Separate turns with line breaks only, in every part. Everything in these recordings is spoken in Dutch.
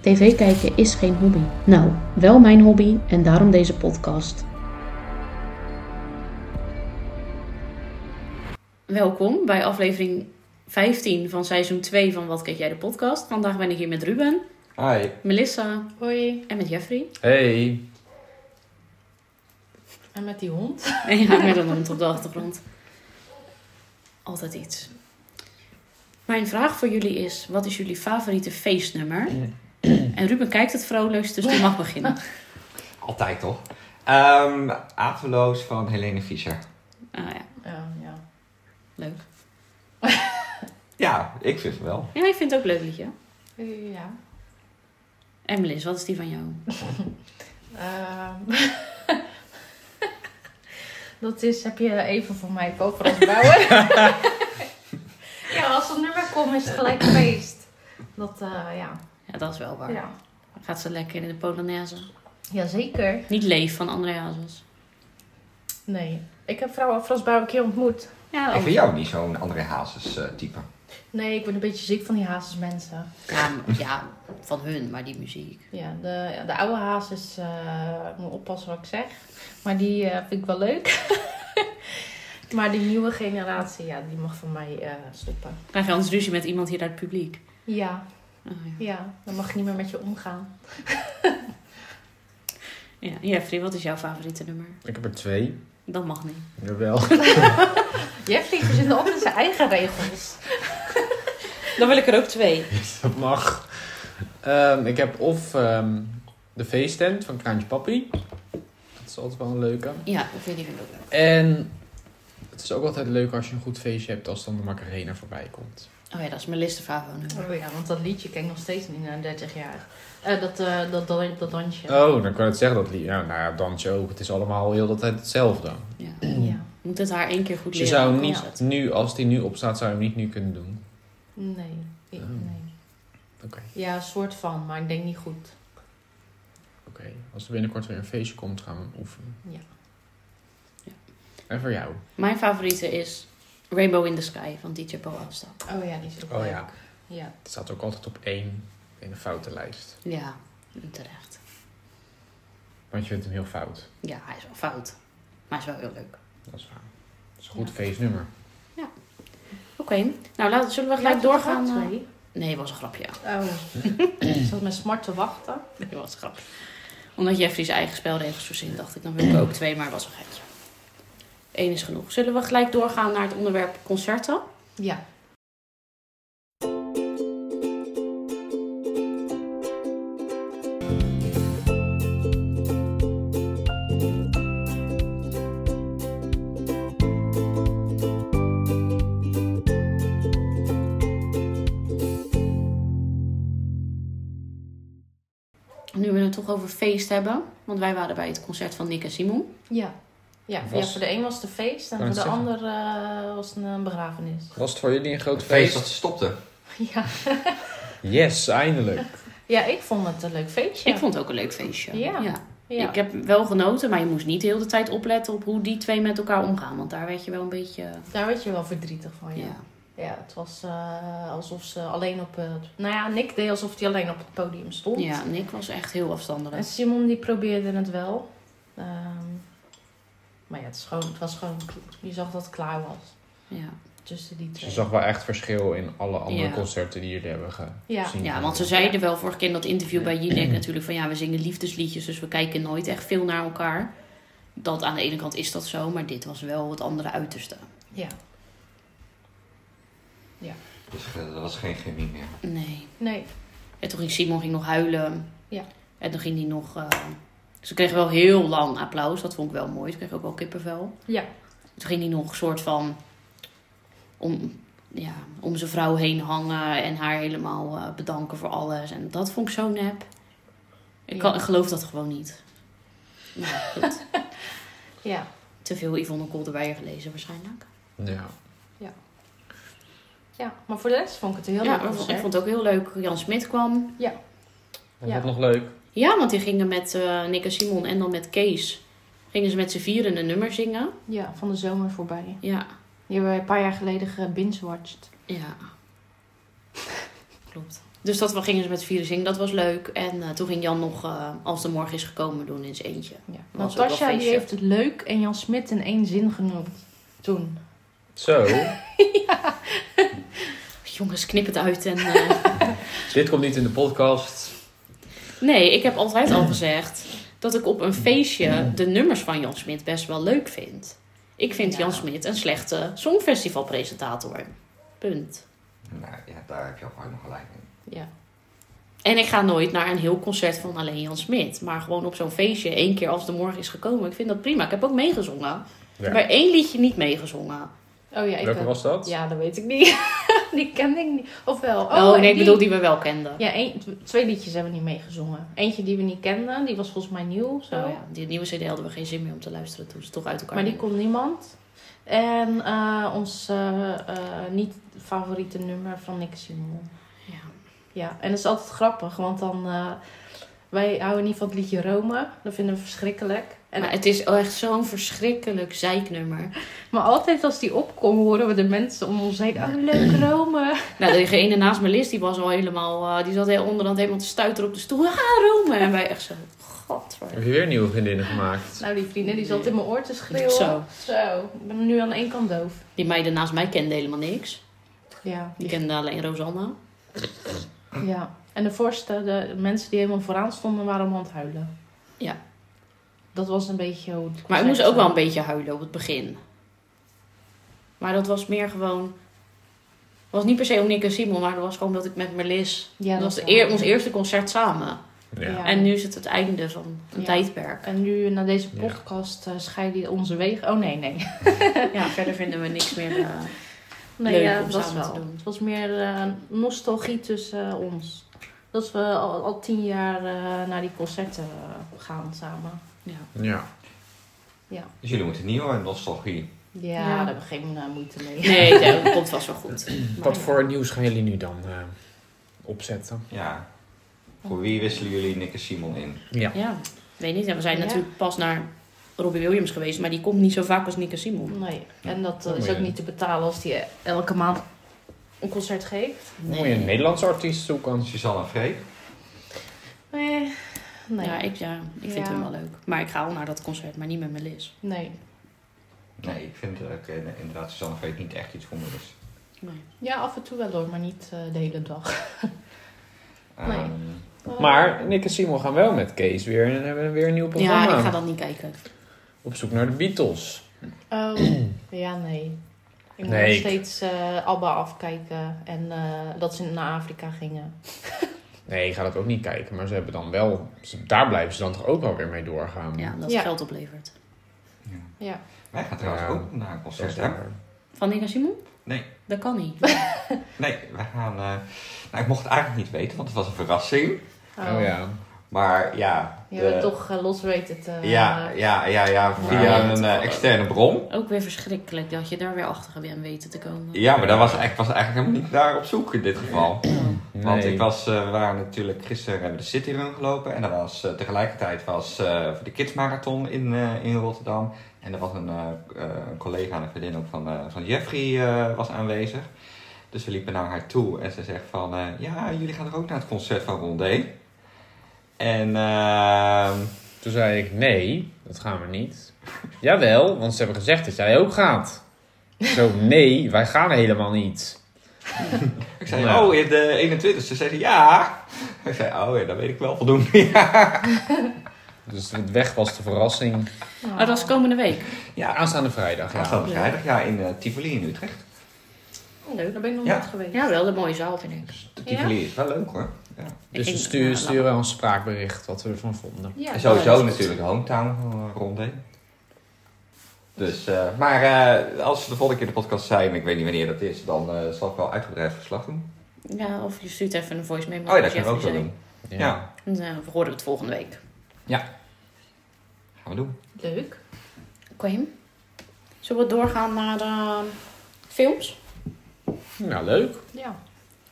TV kijken is geen hobby. Nou, wel mijn hobby en daarom deze podcast. Welkom bij aflevering 15 van seizoen 2 van Wat Kijk Jij de Podcast. Vandaag ben ik hier met Ruben,
Hi.
Melissa
Hoi,
en met Jeffrey.
Hey.
en met die hond?
En ja, met een hond op de achtergrond. Altijd iets. Mijn vraag voor jullie is: wat is jullie favoriete feestnummer? En Ruben kijkt het vrolijkst, dus die mag beginnen.
Altijd toch? Ehm Aveloos van Helene Fischer.
Ah ja,
Ehm, Ja, ja.
leuk.
Ja, ik vind het wel.
Ja, ik vind het ook een leuk liedje.
Eh, ja.
En Melis, wat is die van jou?
Ehm, dat is, heb je even voor mij koopras bouwen? ja, als het nummer komt is het gelijk feest. Dat, eh, ja.
Ja, dat is wel waar.
ja.
Gaat ze lekker in de Polonaise?
Jazeker.
Niet Leef van André Hazes.
Nee, ik heb vrouw Frans Bouw een keer ontmoet.
Ja,
Ik
ook.
vind jou niet zo'n André Hazes eh, type.
Nee, ik word een beetje ziek van die hazesmensen.
Ja, m- ja, van hun, maar die muziek.
Ja, de, de oude haas is, eh, ik moet oppassen wat ik zeg, maar die eh, vind ik wel leuk. maar die nieuwe generatie, ja, die mag van mij eh, stoppen.
Krijg je anders ruzie met iemand hier uit het publiek?
Ja,
Ah, ja.
ja, dan mag ik niet meer met je omgaan.
Ja. Jeffrey, wat is jouw favoriete nummer?
Ik heb er twee.
Dat mag niet.
Jawel.
Jeffrey verzint ook dus in zijn eigen regels.
Dan wil ik er ook twee.
Dat mag. Ehm, ik heb of ehm, de feesttent van Kraantje Papi. Dat is altijd wel een leuke.
Ja, ik vind die vind ik ook leuk.
En het is ook altijd leuk als je een goed feestje hebt als dan de Macarena voorbij komt.
Oh ja, dat is mijn listenfavo nummer.
Oh ja, want dat liedje ken ik nog steeds niet na 30 jaar. Eh, dat, eh, dat, dat, dat dansje.
Oh, dan kan ik het zeggen dat lied. Ja, nou ja, dansje ook. Het is allemaal heel de tijd hetzelfde.
Ja.
Ja.
Moet het haar één keer goed
Dus je
leren.
zou hem
dan kan
niet
ze het.
nu, als die nu opstaat, zou je hem niet nu kunnen doen.
Nee. ik-
Oh.
nee.
Oké.
Ja, een soort van, maar ik denk niet goed.
Oké. Als er binnenkort weer een feestje komt, gaan we hem oefenen.
Ja.
Ja.
En voor jou?
Mijn favoriete is Rainbow in the Sky van DJ Bo Afstap.
Oh ja, die is ook
Oh
leuk.
ja.
Ja.
Het staat ook altijd op één in de foutenlijst.
Ja, terecht.
Want je vindt hem heel fout.
Ja, hij is wel fout. Maar hij is wel heel leuk.
Dat is waar. Dat is een goed feestnummer.
Oké, nou laten, zullen we gelijk
Ja,
doorgaan? eh?
Twee.
Nee, was een grapje.
Oh, ik zat met smart te wachten.
Nee, was een grapje. Omdat Jeffrey zijn eigen spelregels verzint, dacht ik, dan wil ik er ook twee, maar het was een geitje. Eén is genoeg. Zullen we gelijk doorgaan naar het onderwerp concerten?
Ja.
Nu we het toch over feest hebben, want wij waren bij het concert van Nick en Simon.
Ja. Ja,
Was- Oh,
ja, voor de een was het een feest en voor
Kan ik
de
zeggen?
ander eh, was het een begrafenis.
Was het voor jullie een groot
Het feest dat stopte.
Ja.
Yes, eindelijk.
ja, ik vond het een leuk feestje.
Ik vond het ook een leuk feestje.
Ja. ja.
Ik heb wel genoten, maar je moest niet heel de tijd opletten op hoe die twee met elkaar omgaan. Want daar werd je wel een beetje...
Daar werd je wel verdrietig van, Oh ja.
Ja,
Ja, het was eh, alsof ze alleen op het... Nou ja, Nick deed alsof hij alleen op het podium stond.
ja Nick was echt heel
En
afstandelijk.
Simon die probeerde het wel. Ehm, maar ja, het, is gewoon, het was gewoon... Je zag dat het klaar was
Ja.
tussen die
Dus
twee.
je zag wel echt verschil in alle andere
Ja.
concerten die jullie hebben gezien.
Ja.
ja, want ze zeiden wel vorige keer in dat interview bij Jinek natuurlijk van ja, we zingen liefdesliedjes, dus we kijken nooit echt veel naar elkaar. Dat aan de ene kant is dat zo, maar dit was wel het andere uiterste.
Ja.
Dus eh, er was geen chemie meer.
Nee.
Nee.
En toen ging Simon ging nog huilen.
Ja.
En toen ging hij nog. eh, ze kreeg wel heel lang applaus, dat vond ik wel mooi. Ze kreeg ook wel kippenvel.
Ja.
Toen ging hij nog een soort van om, ja, om zijn vrouw heen hangen en haar helemaal eh, bedanken voor alles. En dat vond ik zo nep. Ik, kan,
Ja.
ik geloof dat gewoon niet. Nou, goed.
Ja.
Te veel Yvonne Kolderweijer gelezen waarschijnlijk.
ja.
Ja.
Maar voor de rest vond ik het een heel
ja,
leuk
ik vond- ik
concert.
vond het ook heel leuk. Jan Smit kwam.
Was
Ja.
dat nog leuk?
Ja, want die gingen met eh Nick en Simon en dan met Kees. Gingen ze met z'n vieren een nummer zingen.
Ja, van de zomer voorbij.
Ja.
Die hebben we een paar jaar geleden gebingewatcht.
Ja. Klopt. Dus dat we gingen ze met z'n vieren zingen. Dat was leuk. En eh, toen ging Jan nog eh, Als de Morgen is gekomen doen in zijn eentje.
Ja.
Was ook wel
Natasja die
feestje.
heeft het leuk en Jan Smit in één zin genoemd. Toen.
Zo,
Jongens, knip het uit. En, eh,
dit komt niet in de podcast.
Nee, ik heb altijd al gezegd dat ik op een feestje de nummers van Jan Smit best wel leuk vind. Ik vind
Ja.
Jan Smit een slechte songfestivalpresentator. Punt.
Nou ja, daar heb je ook nog gelijk in.
Ja.
En ik ga nooit naar een heel concert van alleen Jan Smit. Maar gewoon op zo'n feestje, één keer als de morgen is gekomen. Ik vind dat prima. Ik heb ook meegezongen.
Ja.
Maar één liedje niet meegezongen.
Oh ja, ik
Welke
ook.
was dat?
Ja, dat weet ik niet. die ken ik niet. Of wel?
Oh, nee, ik
die-
bedoel die we wel kenden.
Ja, één- twee liedjes hebben we niet meegezongen. Eentje die we niet kenden, die was volgens mij nieuw. Zo.
Oh ja, die nieuwe CD hadden we geen zin meer om te luisteren toen ze toch uit elkaar
Maar die
gingen.
kon niemand. En eh, ons eh, eh, niet-favoriete nummer van Nick Simon.
Ja.
Ja, en dat is altijd grappig, want dan... eh, wij houden niet van het liedje Rome. Dat vinden we verschrikkelijk. En,
Maar
maar,
het is echt zo'n verschrikkelijk zeiknummer.
altijd als die opkomt, horen we de mensen om ons heen... Oh, leuk Rome.
Nou, degene naast mijn list, die was al helemaal... eh, die zat heel onderhand helemaal te stuiteren op de stoel. Ah, Rome! En wij echt zo... Godver.
Heb je weer nieuwe vriendinnen gemaakt?
Nou, die vriendin die zat in mijn oor te schreeuwen.
Zo.
Zo. Ik ben nu aan één kant doof.
Die meiden naast mij kenden helemaal niks.
Ja.
Die kenden alleen Rosanna.
Ja, en de voorste, de mensen die helemaal vooraan stonden, waren allemaal aan het huilen.
Ja.
Dat was een beetje hoe het
Maar ik
concert
moest ook wel
was.
een beetje huilen op het begin. Maar dat was meer gewoon... Het was niet per se om Nick en Simon, maar dat was gewoon dat ik met Melis...
Ja,
dat was de
wel.
eer, ons eerste concert samen.
Ja.
En nu is het het einde van een
Ja.
tijdperk.
En nu, na deze
Ja.
podcast, eh, scheiden onze wegen. Oh nee, nee.
Ja, verder vinden we niks meer. eh,
Nee,
Leuk
ja,
om
het was
samen te
wel.
doen.
Het was meer eh, nostalgie tussen eh, ons. Dat we al, al tien jaar eh, naar die concerten eh, gaan samen.
ja.
Ja.
Dus jullie moeten niet hoor, nostalgie.
Ja,
daar
daar
hebben
hebben we geen eh, moeite mee.
Nee, nee, dat komt vast wel goed.
Wat voor nieuws gaan jullie nu dan eh, opzetten?
Ja. Voor wie wisselen jullie Nick en Simon in?
Ja.
Ja, weet niet. Ja, we zijn
Ja.
natuurlijk pas naar Robbie Williams geweest, maar die komt niet zo vaak als Nick en Simon.
Nee, en dat eh,
Oh,
is ook
ja.
niet te betalen als die elke maand een concert geeft.
Moet je een Nederlandse artiest zoeken?
Suzanne en Freek?
Nee, Eh, nee.
Ja, ik, ja, ik vind
Ja.
hem wel leuk. Maar ik ga al naar dat concert, maar niet met Melis.
nee.
Nee, ik vind eh, eh, inderdaad Suzanne en Freek niet echt iets voor moeders.
Nee.
Ja, af en toe wel hoor, maar niet eh, de hele dag. Nee.
Ehm,
Oh.
Maar Nick en Simon gaan wel met Kees weer en hebben weer een nieuw programma.
Ja, ik ga dat niet kijken.
Op zoek naar de Beatles.
Oh, ja, nee. Ik moet
Nee,
nog
ik-
steeds eh, Abba afkijken en eh, dat ze naar Afrika gingen.
Nee, ik ga dat ook niet kijken, maar ze hebben dan wel... ze- daar blijven ze dan toch ook wel weer mee doorgaan.
Ja, dat
Ja.
geld oplevert.
ja.
Ja.
Wij gaan trouwens
Ja.
ook naar een
Dat is
concert, hè?
waar.
Van Nick en Simon?
Nee.
Dat kan niet.
Nee, wij gaan... eh, Nou, ik mocht het eigenlijk niet weten, want het was een verrassing.
Oh ja.
Maar ja...
Je
de-
hebt toch eh, los weten te...
Ja, ja, ja, ja, via
Ja.
een eh, externe bron.
Ook weer verschrikkelijk dat je daar weer achter bent weten te komen.
Ja, maar daar was, ik was eigenlijk helemaal niet naar op zoek in dit geval. Want
Nee.
ik was, eh, we waren natuurlijk gisteren hebben we de City Run gelopen. En dat was, eh, tegelijkertijd was eh, voor de Kids Marathon in, eh, in Rotterdam. En er was een, eh, eh, een collega en een vriendin ook van, eh, van Jeffrey eh, was aanwezig. Dus we liepen naar haar toe en ze zegt van... eh, ja, jullie gaan er ook naar het concert van Rondé. En ehm,
Toen zei ik, nee, dat gaan we niet. Jawel, want ze hebben gezegd dat jij ook gaat. Zo, nee, wij gaan helemaal niet.
ik zei,
Nou.
oh, in de 21ste. Ze zei, ja. Ik zei, oh ja, dat weet ik wel voldoende.
Dus het weg was de verrassing.
Oh,
Ah,
dat is komende week.
ja,
Aanstaande vrijdag,
ja,
ja.
aanstaande vrijdag ja, in eh, Tivoli in Utrecht.
Oh, Leuk, daar ben ik nog
Ja.
niet geweest.
Ja, wel een mooie zaal vind ik.
Dus De Tivoli is wel leuk hoor. Ja.
Dus
Ik-
we
ja,
sturen,
laat-
sturen wel een spraakbericht wat we ervan vonden.
Ja,
En
dat
sowieso
is goed.
natuurlijk de hometown van Rondé. Dus, eh, maar eh, als we de volgende keer de podcast zijn, ik weet niet wanneer dat is, dan eh, zal ik wel uitgebreid verslag doen.
Ja, of je stuurt even een voice memo.
Oh ja, dat
als
kunnen we ook wel
Jeffrey
doen. Ja.
zei. Dan eh, horen we het volgende week.
Gaan we doen.
Leuk.
Oké. Zullen we doorgaan naar de films?
Nou, leuk.
Ja.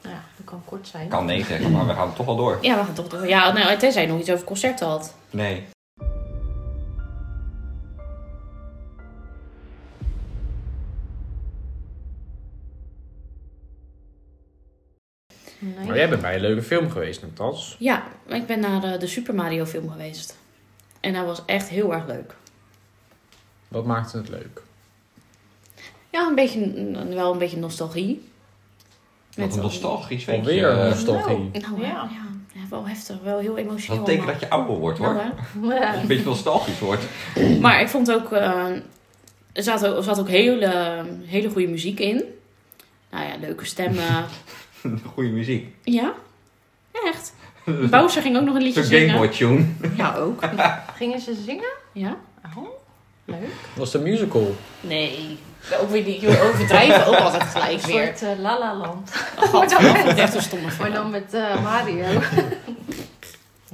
Nou Ja, dat kan kort zijn.
Kan nee zeggen, maar we gaan toch al door.
Ja, we gaan toch door. Ja, nou, tenzij je nog iets over concerten had.
Nee.
Nee.
Maar jij bent bij een leuke film geweest, Natas.
Ja, ik ben naar de, de Super Mario film geweest. En dat was echt heel erg leuk.
Wat maakte het leuk?
Ja, een beetje, n- wel een beetje nostalgie.
Wat een
al-
nostalgisch weetje.
Alweer een
Eh,
nostalgie.
Nou ja.
Ja.
ja. Ja, wel heftig, wel heel emotioneel.
Dat betekent dat je ouder wordt hoor.
allemaal. Nou, hè.
Dat je een beetje nostalgisch wordt.
Maar ik vond ook, eh, er zat ook, er zat ook hele, hele goede muziek in. Nou ja, leuke stemmen.
Goede muziek.
ja, echt. Bowser ging ook nog een liedje
Zo'n Game
zingen.
Boy tune.
Ja, ook.
Gingen ze zingen?
Ja?
Oh, leuk.
Was de musical?
Nee. Ook weer niet, joh, overdrijven ook altijd gelijk
Een
weer.
soort eh, La La Land.
God, ik vond het echt een stomme film.
Maar dan met eh, Mario.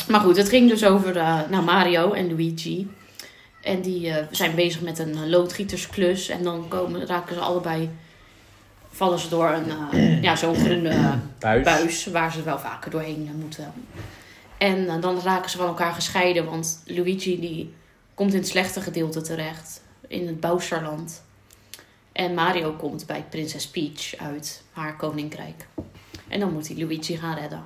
Maar goed, het ging dus over eh, nou, Mario en Luigi. En die eh, zijn bezig met een eh, loodgietersklus. En dan komen, raken ze allebei... Vallen ze door een, eh, ja, zo'n groene eh,
Thuis?
buis waar ze wel vaker doorheen eh, moeten. En eh, dan raken ze van elkaar gescheiden, want Luigi die komt in het slechte gedeelte terecht, in het Bowserland. En Mario komt bij prinses Peach uit haar koninkrijk. En dan moet hij Luigi gaan redden.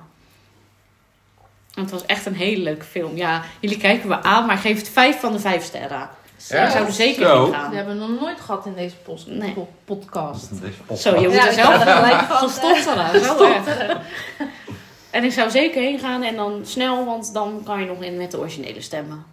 En Het was echt een hele leuke film. Ja, jullie kijken me aan, maar geef het vijf van de vijf sterren.
Zo.
Ja.
Ik zou er zeker
Zo.
in
Dat
gaan.
hebben we nog nooit gehad in deze post-
Nee.
po- podcast.
Deze podcast.
Zo, je moet
Ja,
er
ik had
zelf
er gelijk van,
van
eh,
stotteren. Zo erg. En ik zou zeker heen gaan en dan snel, want dan kan je nog in met de originele stemmen.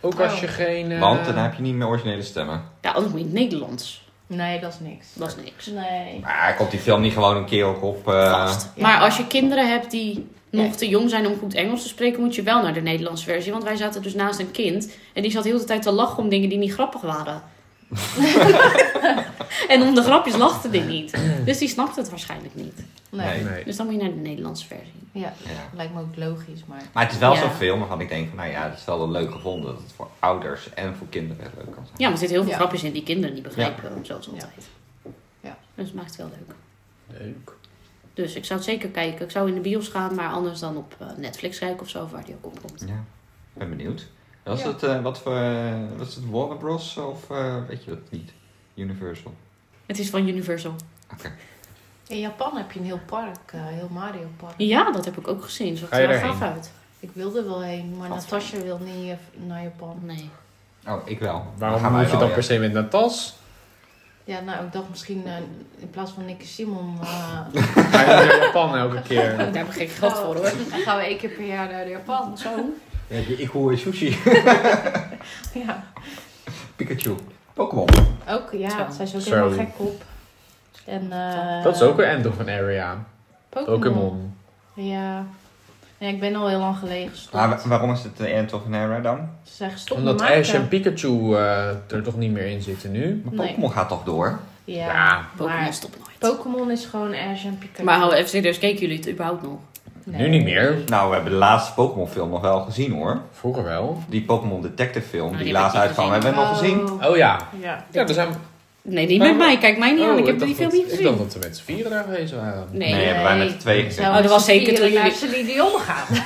Ook als je geen... eh,
Want dan heb je niet meer originele stemmen.
Ja, anders moet je in het Nederlands.
Nee, dat is niks.
Dat is niks.
Nee.
Maar komt die film niet gewoon een keer ook op? eh,
Vast.
ja.
Maar als je kinderen hebt die nog
Ja.
te jong zijn om goed Engels te spreken, moet je wel naar de Nederlandse versie. Want wij zaten dus naast een kind en die zat heel de tijd te lachen om dingen die niet grappig waren. en om de grapjes lachte die niet. Dus die snapte het waarschijnlijk niet.
Nee.
Nee.
Nee.
Dus dan moet je naar de Nederlandse versie.
Ja,
ja.
lijkt me ook logisch, maar...
Maar het is wel
Ja.
zo'n film waarvan ik denk van, nou ja, dat is wel een leuk gevonden. Dat het voor ouders en voor kinderen leuk kan zijn.
Ja, maar er zitten heel veel
Ja.
grapjes in die kinderen niet begrijpen, zoals altijd.
Ja.
Dus het maakt het wel leuk.
Leuk.
Dus ik zou het zeker kijken. Ik zou in de bios gaan, maar anders dan op eh, Netflix kijken of zo, of waar die ook op komt.
Ja, ik ben benieuwd. Was
Ja.
het, eh, wat voor, eh, was het Warner Bros of eh, weet je dat niet? Universal.
Het is van Universal.
Oké.
In Japan heb je een heel park, eh, heel Mario park.
Ja, dat heb ik ook gezien. Zag
Ga
er
je
wel
daarheen?
gaaf uit.
Ik wilde wel heen, maar
Wat
Natasja wil niet eh, naar Japan.
Nee.
Oh, ik wel.
Waarom
gaan wij
moet je
wel,
dan
ja.
per se met Natas?
Ja, nou, ik dacht misschien eh, in plaats van Nick en Simon... eh,
Ga je naar Japan elke keer?
Daar heb ik geen geld voor hoor.
Dan gaan we één keer per jaar naar Japan.
Oh, Zo.
Ja, ik- ik hoor sushi.
Ja.
Pikachu. Pokémon.
Ook,
Zo.
ja. Zij is ook
Zo.
helemaal gek op. En, eh,
Dat is ook een end of an area. Pokémon.
Ja. Nee, ik ben al heel lang geleden gestopt.
Maar wa- waarom is het eh, de End of an Era dan?
Ze zijn gestopt
Omdat
met maken.
Ash en Pikachu eh, er toch niet meer in zitten nu.
Maar
Nee.
Pokémon gaat toch door?
Ja,
Ja,
Pokémon
maar
stopt nooit.
Pokémon is gewoon Ash en Pikachu.
Maar oh, hou even serieus, keken jullie het überhaupt nog?
Nee.
Nu niet meer.
Nou, we hebben de laatste Pokémon film nog wel gezien hoor.
Vroeger wel.
Die Pokémon Detective film
Nou,
die,
die heb
laatst
ik niet
uitkwam.
gezien.
Hebben we hem al gezien?
Oh.
Oh ja.
Ja.
Ja, we zijn... Oh,
Nee, niet met
Waarom?
mij. Kijk mij niet aan. Ik heb
dacht
die film
dat-
niet
Oh, Ik dacht
gezien.
dat we met z'n vieren daar geweest waren.
Nee.
Nee, hebben wij met z'n tweeën gezien.
Zou
Oh, dat was
ze
zeker
vieren
toen
naar
jullie-
Celine gaan.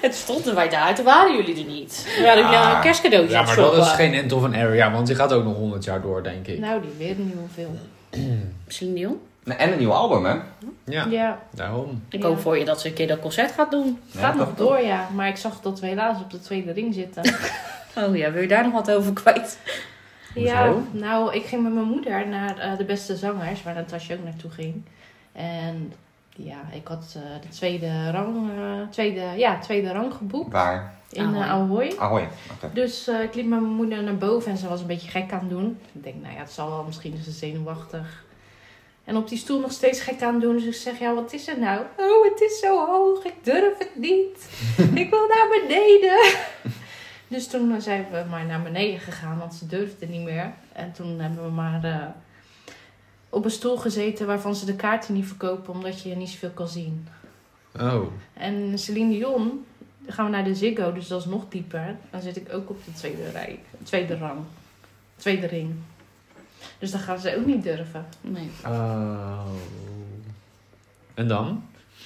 Het stonden wij daar, toen waren jullie er niet. We hadden ja. een kerstcadeautje
Ah. Ja,
aan het
maar dat is
shoppen.
geen end of an area, want die gaat ook nog 100 jaar door, denk ik.
nou, die weet niet hoeveel.
Celine Dion,
Nou, En een nieuw album hè?
Ja,
Ja,
daarom.
ik
Ja.
hoop voor je dat ze een keer dat concert gaat doen.
het gaat
Ja,
nog door, ja. Maar ik zag dat we helaas op de tweede ring zitten.
Oh ja, wil je daar nog wat over kwijt?
ja,
Hoezo?
nou, ik ging met mijn moeder naar eh, de beste zangers, waar Natasja ook naartoe ging. En ja, ik had eh, de tweede rang, eh, tweede, ja, tweede rang geboekt
Waar?
in eh,
Ahoy.
Ahoy.
Ahoy. Oké.
Dus eh, ik liep met mijn moeder naar boven en ze was een beetje gek aan het doen. Ik denk, nou ja, het zal wel, misschien is ze zenuwachtig. En op die stoel nog steeds gek aan het doen. Dus ik zeg, ja, wat is er nou? Oh, het is zo hoog, ik durf het niet. ik wil naar beneden. dus toen eh, zijn we maar naar beneden gegaan, want ze durfde niet meer. En toen hebben we maar eh, op een stoel gezeten waarvan ze de kaarten niet verkopen, omdat je niet zoveel kan zien.
Oh,
En Celine Dion, Dan gaan we naar de Ziggo, dus dat is nog dieper. Dan zit ik ook op de tweede rij, tweede rang, tweede ring. Dus dat gaan ze ook niet durven.
Nee.
Oh. En dan?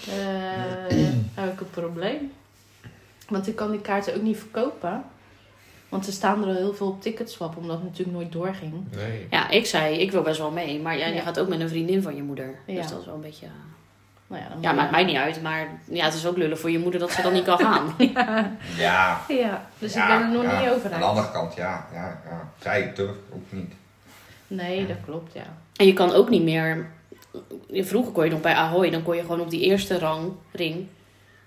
Eh heb ik een probleem. Want ik kan die kaarten ook niet verkopen. Want er staan er al heel veel op ticketswap, omdat het natuurlijk nooit doorging.
Nee.
Ja, ik zei, ik wil best wel mee. Maar ja, je
Ja.
gaat ook met een vriendin van je moeder.
Ja.
Dus dat is wel een beetje... eh,
Nou ja, dan
Ja,
moet
maakt
je-
mij niet uit. Maar ja, het is ook lullig voor je moeder dat ze dan niet kan gaan.
Ja.
Ja, dus
ja,
ik ben er nog
ja.
niet over
Aan de andere
uit.
kant, ja. ja, ja. Zij durft ook niet.
Nee, dat klopt, ja.
En je kan ook niet meer... Vroeger kon je nog bij Ahoy, dan kon je gewoon op die eerste rang, ring...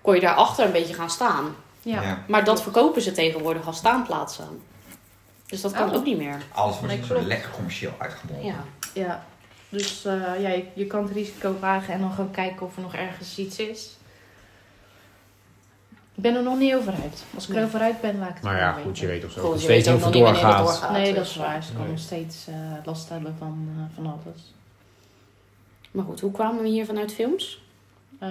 kon je daarachter een beetje gaan staan.
Ja,
Maar dat verkopen ze tegenwoordig als staanplaatsen. Dus dat kan
Oh.
ook niet meer.
Alles wordt
Nee,
zo
klopt.
lekker commercieel uitgemolken.
Ja.
ja. Dus eh, ja, je, je kan het risico wagen en dan gewoon kijken of er nog ergens iets is. Ik ben er nog niet over uit. Als ik
Nee.
erover uit ben, laat ik het
Maar
wel
ja,
weten.
goed, je weet of zo.
Goed, je
nog
weet
steeds
ook
niet of
nog
het
niet wanneer het
doorgaat.
doorgaat.
Nee, dat
dus,
is waar. Ze kan
nee.
nog steeds eh, last hebben van, eh, van alles.
Maar goed, hoe kwamen we hier vanuit films?
Eh,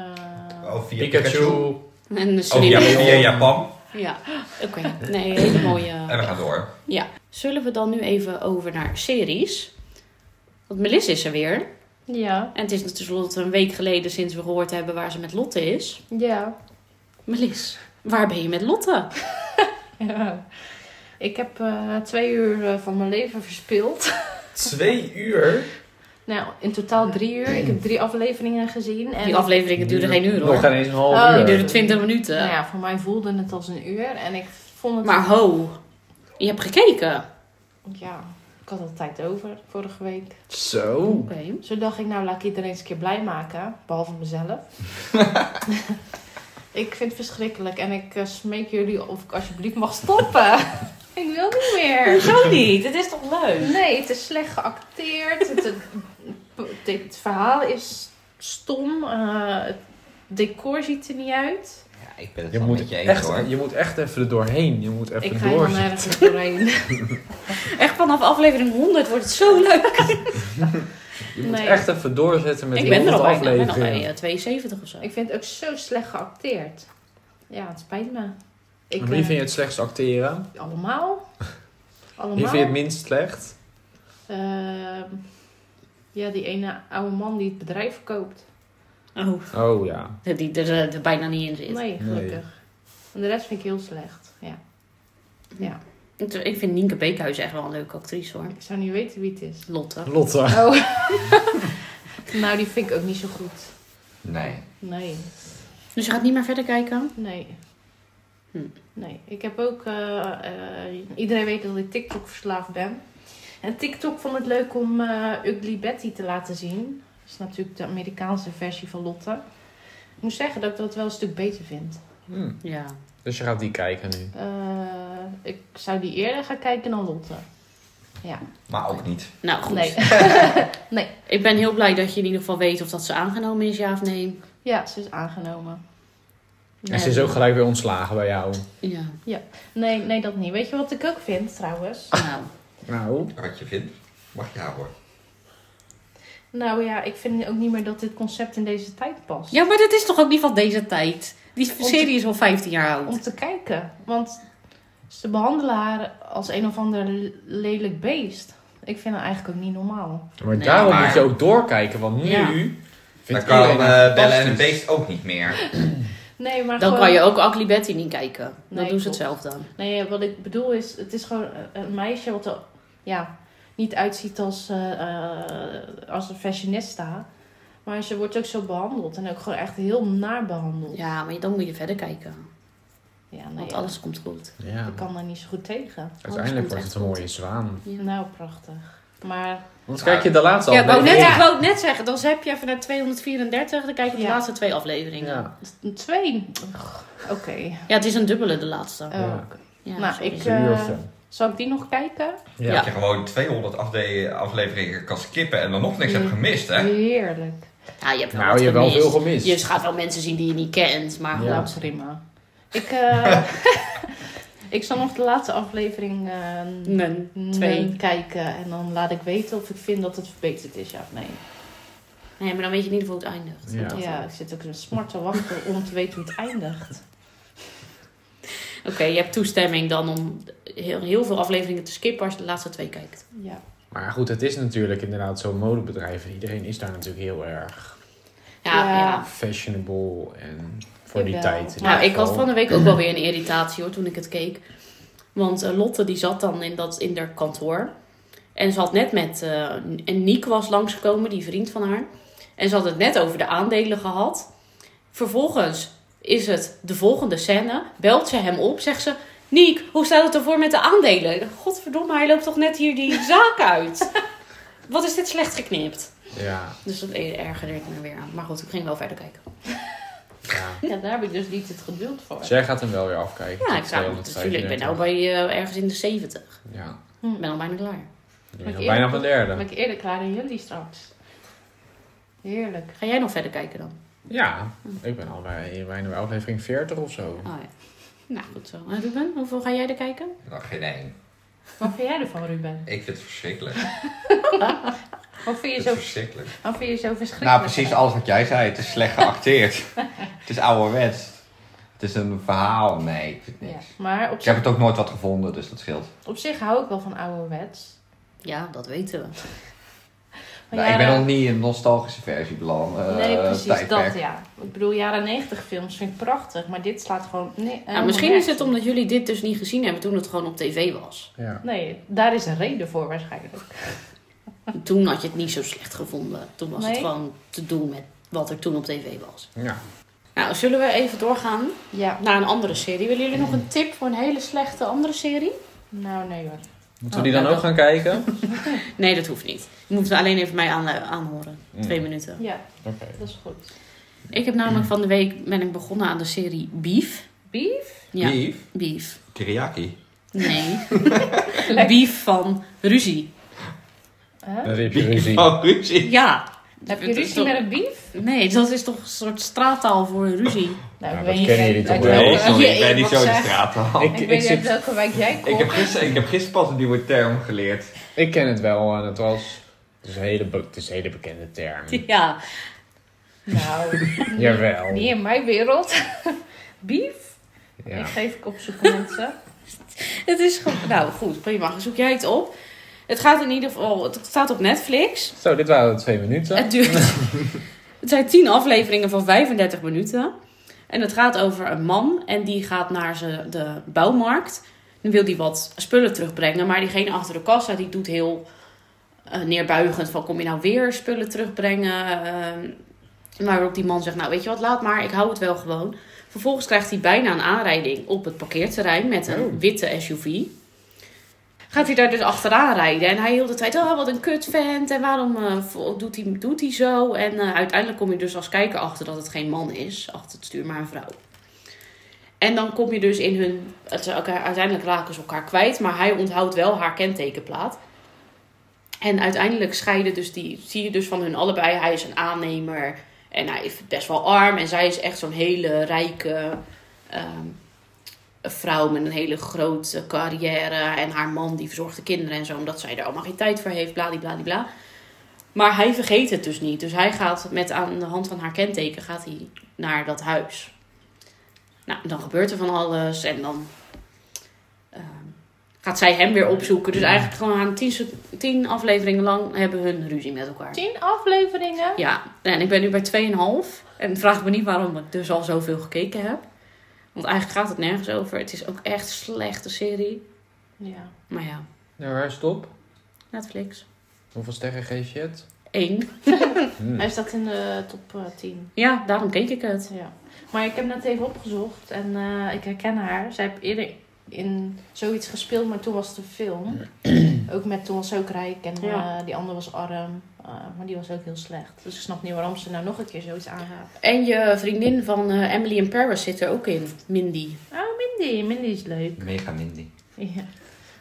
Oh, via
Pikachu.
En de
Oh, ja,
Suriname.
via Japan.
Ja, oké. Nee, hele
En we
mooie.
gaan door.
Ja. Zullen we dan nu even over naar series? Want Melissa is er weer.
Ja,
En het is tenslotte een week geleden sinds we gehoord hebben waar ze met Lotte is.
ja.
Melis, waar ben je met Lotte?
Ik heb eh, twee uur eh, van mijn leven verspild.
Twee uur?
Nou, in totaal drie uur. Ik heb drie afleveringen gezien. En
Die afleveringen duurden geen uur
Nog
hoor.
geen eens een half
Oh,
Die
uur.
duurde 20 minuten.
Nou ja, voor mij voelde het als een uur. En ik vond het...
eh. Maar ho, je hebt gekeken.
Ja, ik had al tijd over vorige week.
Zo.
Oké.
Zo dacht ik, nou laat ik iedereen eens een keer blij maken. Behalve mezelf. ik vind het verschrikkelijk. En ik eh, smeek jullie of ik alsjeblieft mag stoppen. ik wil niet meer.
Hoezo niet? Het is toch leuk?
Nee, het is slecht geacteerd. Het, het, het- het verhaal is stom. Eh, het decor ziet er niet uit.
Ja, ik ben het
Je
wel
moet,
met je eens
echt,
hoor.
je moet echt even er doorheen. Je moet
Ik
even
ga hier
door.
dan ergens doorheen.
Echt vanaf aflevering 100 wordt het zo leuk.
Je moet
Nee.
echt even doorzetten met
Ik
die
ben er al
100
bijna. Ik ben al bij
afleveringen.
eh, 72 of zo.
ik vind het ook zo slecht geacteerd. Ja, het spijt me. Ik,
En Wie
eh,
vind je het slechtst acteren?
Allemaal. Allemaal.
Wie vind je het minst slecht?
Ehm, ja, die ene oude man die het bedrijf verkoopt.
Oh,
Oh ja.
die er, eh, er bijna niet in zit.
Nee, gelukkig. En de rest vind ik heel slecht. Ja. ja.
Ik- Ik vind Nienke Beekhuis echt wel een leuke actrice hoor.
Ik zou niet weten wie het is.
Lotte.
Lotte.
Oh. nou, die vind ik ook niet zo goed.
Nee.
Nee,
Dus je gaat niet meer verder kijken?
nee.
Hm.
Nee, ik heb ook... eh, eh, iedereen weet dat ik TikTok verslaafd ben. En TikTok vond het leuk om eh, Ugly Betty te laten zien. Dat is natuurlijk de Amerikaanse versie van Lotte. Ik moet zeggen dat ik dat wel een stuk beter vind.
Hm.
Ja.
Dus je gaat die kijken nu.
Eh, ik zou die eerder gaan kijken dan Lotte. Ja,
Maar ook niet.
Nou goed.
nee.
Ik ben heel blij dat je in ieder geval weet of dat ze aangenomen is, ja of nee.
ja, ze is aangenomen.
En ze is ook gelijk weer ontslagen bij jou.
Ja.
Nee, nee, dat niet. Weet je wat ik ook vind trouwens?
Nou.
Nou.
Wat je vindt, mag je daar hoor.
Nou ja, ik vind ook niet meer dat dit concept in deze tijd past.
Ja, maar dat is toch ook niet van deze tijd? Die
te-
serie is al 15 jaar oud.
Om te kijken. Want ze behandelen haar als een of ander l- lelijk beest. Ik vind dat eigenlijk ook niet normaal.
Maar
Nee,
daarom
maar-
moet je ook doorkijken, want nu
Ja.
Dan
vindt
kan
iedereen
eh,
het
Bellen en het
fantastisch.
Beest ook niet meer.
Nee, maar
Dan
gewoon...
kan je ook Ugly Betty niet kijken. Dan
Nee,
doen ze
klopt.
het zelf dan.
Nee, wat ik bedoel is, het is gewoon eh, een meisje wat er ja, niet uitziet als, eh, eh, als een fashionista. Maar ze wordt ook zo behandeld. En ook gewoon echt heel naar behandeld. Ja,
Ja, maar dan moet je verder kijken.
nee,
Want
ja,
alles komt goed.
Ja.
Ik kan daar niet zo goed tegen.
Uiteindelijk
komt
wordt het
echt
een
goed.
mooie zwaan.
Nou, prachtig. Maar Oh,
Want kijk je de laatste
Ja, ik wou, net,
aflevering?
ik wou net zeggen, dan heb je even naar 234, dan kijk je de
Ja.
laatste twee afleveringen. Ja.
Ja.
een twee. Ugh, Oké.
het is een dubbele, de laatste.
Eh,
Ja.
oké.
Ja,
nou,
sorry.
ik,
Een uur
eh,
of zo.
Zal ik die nog kijken?
Ja.
Dat je gewoon 200 afde- afleveringen kan skippen en dan nog niks hebt gemist, hè?
Heerlijk.
Ja, je hebt wel,
Nou,
wat
je hebt wel
gemist.
veel gemist.
Je gaat wel mensen zien die je niet kent, maar
Ja.
goed.
Nou, prima. Ik, eh, ik zal nog de laatste aflevering eh,
Men, twee.
n- kijken. En dan laat ik weten of ik vind dat het verbeterd is, ja of nee.
Nee, maar dan weet je niet hoe het eindigt.
Ja.
Dat
Ja,
wel.
ik zit ook een smart te wachten om te weten hoe het eindigt.
Oké, je hebt toestemming dan om heel, heel veel afleveringen te skippen als je de laatste twee kijkt.
Ja.
Maar goed, het is natuurlijk inderdaad zo'n modebedrijf. en Iedereen is daar natuurlijk heel erg
Ja, ja.
Ja.
fashionable en voor die
Jawel.
tijd. in
Nou,
ieder
ik had
geval.
van de week ook wel weer een irritatie hoor, toen ik het keek. Want eh, Lotte die zat dan in, dat, in haar kantoor. En ze had net met... eh, en Niek was langsgekomen, die vriend van haar. En ze had het net over de aandelen gehad. Vervolgens is het de volgende scène. Belt ze hem op, zegt ze... Niek, hoe staat het ervoor met de aandelen? Godverdomme, hij loopt toch net hier die zaak uit. Wat is dit slecht geknipt?
Ja,
Dus dat ergerde ik me weer aan. Maar goed, ik ging wel verder kijken.
ja.
ja, daar heb ik dus niet het geduld voor.
Zij gaat hem wel weer afkijken.
Ja,
tot
ik zou natuurlijk. Ik ben
235.
nou bij eh, ergens in de 70.
Ja,
Ik ben al bijna klaar.
ik
Maar ik
ben al bijna
eerlijk-
van derde.
Ben ik eerder klaar dan jullie straks. Heerlijk.
Ga jij nog verder kijken dan?
Ja, ik ben al bij, bijna bij aflevering 40 of zo.
Oh, ja. Nou, goed zo. En Ruben, hoeveel ga jij er kijken?
Nou, geen één.
Wat vind jij ervan, Ruben?
Ik vind het verschrikkelijk.
Wat vind
Ik
je
vind
zo,
het verschrikkelijk.
wat vind je zo verschrikkelijk?
Nou, precies alles wat jij zei. Het is slecht geacteerd. het is ouderwets. Het is een verhaal. Nee, ik vind
Ja.
niks.
Maar op
Ik
zich,
heb het ook nooit wat gevonden, dus dat scheelt.
op zich hou ik wel van ouderwets.
Ja, dat weten we.
Maar
Nou, ik ben
jaren-
nog niet in een nostalgische versie beland. eh,
Nee, precies,
tijdperk.
dat ja. Ik bedoel, jaren 90 films vind ik prachtig, maar dit slaat gewoon... Nee,
Nou,
helemaal
misschien is
nergens
het
op.
omdat jullie dit dus niet gezien hebben toen het gewoon op tv was.
Ja.
Nee, daar is een reden voor waarschijnlijk.
Toen had je het niet zo slecht gevonden. Toen was het
Nee.
gewoon te doen met wat er toen op tv was.
ja.
Nou, zullen we even doorgaan
Ja.
naar een andere serie? Willen jullie nog een tip voor een hele slechte andere serie?
Nou, nee hoor.
Moeten
Oh,
we die dan
nou,
ook gaan kijken?
Nee, dat hoeft niet. Je moet alleen even mij aan, eh, aanhoren. Twee
Mm,
minuten.
Ja,
Oké.
dat is goed.
Ik heb namelijk van de week ben ik begonnen aan de serie Beef.
Beef?
Ja,
Beef,
Beef.
teriyaki.
Nee. beef van ruzie.
Huh?
Dan heb je
Beef
ruzie.
van Oh, ruzie.
Ja.
Heb je
Dat is
ruzie
toch-
met een beef?
Nee, dat is toch een soort straattaal voor ruzie.
Nou,
ik
dat
weet
kennen
niet
jullie
uit welke-
toch wel?
Nee, sorry, ik
Jee,
ben niet
wat
zo de
zeg.
straat al.
Ik-
Ik,
Ik,
ik
weet niet
zit-
uit welke wijk jij komt.
heb gisteren, ik heb gisteren pas een nieuwe term geleerd.
Ik ken het wel en het was... Het is een hele, be- het is een hele bekende term.
Ja.
Nou,
Jawel.
niet in mijn wereld. Beef? Ik
Ja.
geef ik op zoek mensen.
Het is gewoon... Nou goed, prima. Zoek jij het op. Het gaat in ieder geval... Het staat op Netflix.
Zo, dit waren de twee minuten.
Het duurt. het zijn tien afleveringen van 35 minuten. En het gaat over een man en die gaat naar ze, de bouwmarkt. Dan wil hij wat spullen terugbrengen, maar diegene achter de kassa die doet heel eh, neerbuigend van kom je nou weer spullen terugbrengen. Ehm waarop die man zegt, nou weet je wat, laat maar, ik hou het wel gewoon. Vervolgens krijgt hij bijna een aanrijding op het parkeerterrein met een
Oh.
witte SUV. Gaat hij daar dus achteraan rijden. En hij heel de tijd, oh wat een kutvent. En waarom eh, vo- doet, hij, doet hij zo? En eh, uiteindelijk kom je dus als kijker achter dat het geen man is. Achter het stuur, maar een vrouw. En dan kom je dus in hun... het- ze elkaar- Uiteindelijk raken ze elkaar kwijt. Maar hij onthoudt wel haar kentekenplaat. En uiteindelijk scheiden dus die... Zie je dus van hun allebei. Hij is een aannemer. En hij is best wel arm. En zij is echt zo'n hele rijke... ehm, een vrouw met een hele grote carrière. En haar man die verzorgt de kinderen en zo. Omdat zij er allemaal geen tijd voor heeft. Bladibladibla. Maar hij vergeet het dus niet. Dus hij gaat met aan de hand van haar kenteken gaat hij naar dat huis. Nou, dan gebeurt er van alles. En dan ehm, gaat zij hem weer opzoeken. Dus eigenlijk gewoon aan tien, se- tien afleveringen lang hebben hun ruzie met elkaar.
Tien afleveringen?
Ja, nou, en ik ben nu bij 2,5. En vraag me niet waarom ik dus al zoveel gekeken heb. Want eigenlijk gaat het nergens over. Het is ook echt een slechte serie.
Ja.
Maar ja,
Nou, waar is het op?
Netflix.
Hoeveel sterren geef je het?
Eén.
Hmm.
Hij staat in de top eh, 10.
Ja, daarom keek ik het.
Ja. Maar ik heb net even opgezocht en eh, ik herken haar. Zij heeft eerder in zoiets gespeeld, maar toen was het een film. ook met toen was ze ook rijk en eh,
Ja.
die andere was arm. Eh, maar die was ook heel slecht. Dus ik snap niet waarom ze nou nog een keer zoiets aangaat.
En je vriendin van eh, Emily in Paris zit er ook in. Mindy.
Oh, Mindy. Mindy is leuk.
Mega Mindy.
Ja.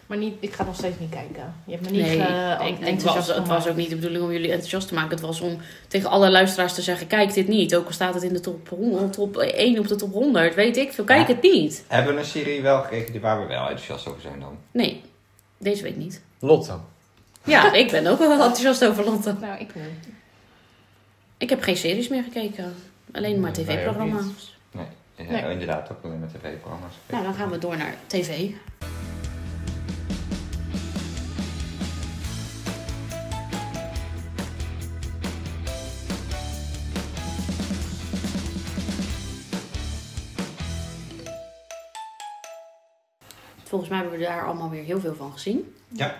Maar niet, ik ga nog steeds niet kijken. Je hebt me niet
Nee,
eh,
ik, ik
enthousiast
was, het was
gemaakt.
ook niet de bedoeling om jullie enthousiast te maken. Het was om tegen alle luisteraars te zeggen, kijk dit niet. Ook al staat het in de top, 100, top 1 op de top 100, weet ik veel. Kijk het niet.
Hebben we een serie wel gekregen die- waar we wel enthousiast over zijn dan?
Nee, deze week niet.
Lotte.
Ja, ik ben ook wel enthousiast over Lotte.
Nou, ik niet.
Ik heb geen series meer gekeken. Alleen maar
Nee, wij ook
tv-programma's.
Nee. Ja,
Nee.
Inderdaad, ook alleen met tv-programma's.
Nou, dan gaan we door naar tv. Volgens mij hebben we daar allemaal weer heel veel van gezien.
Ja.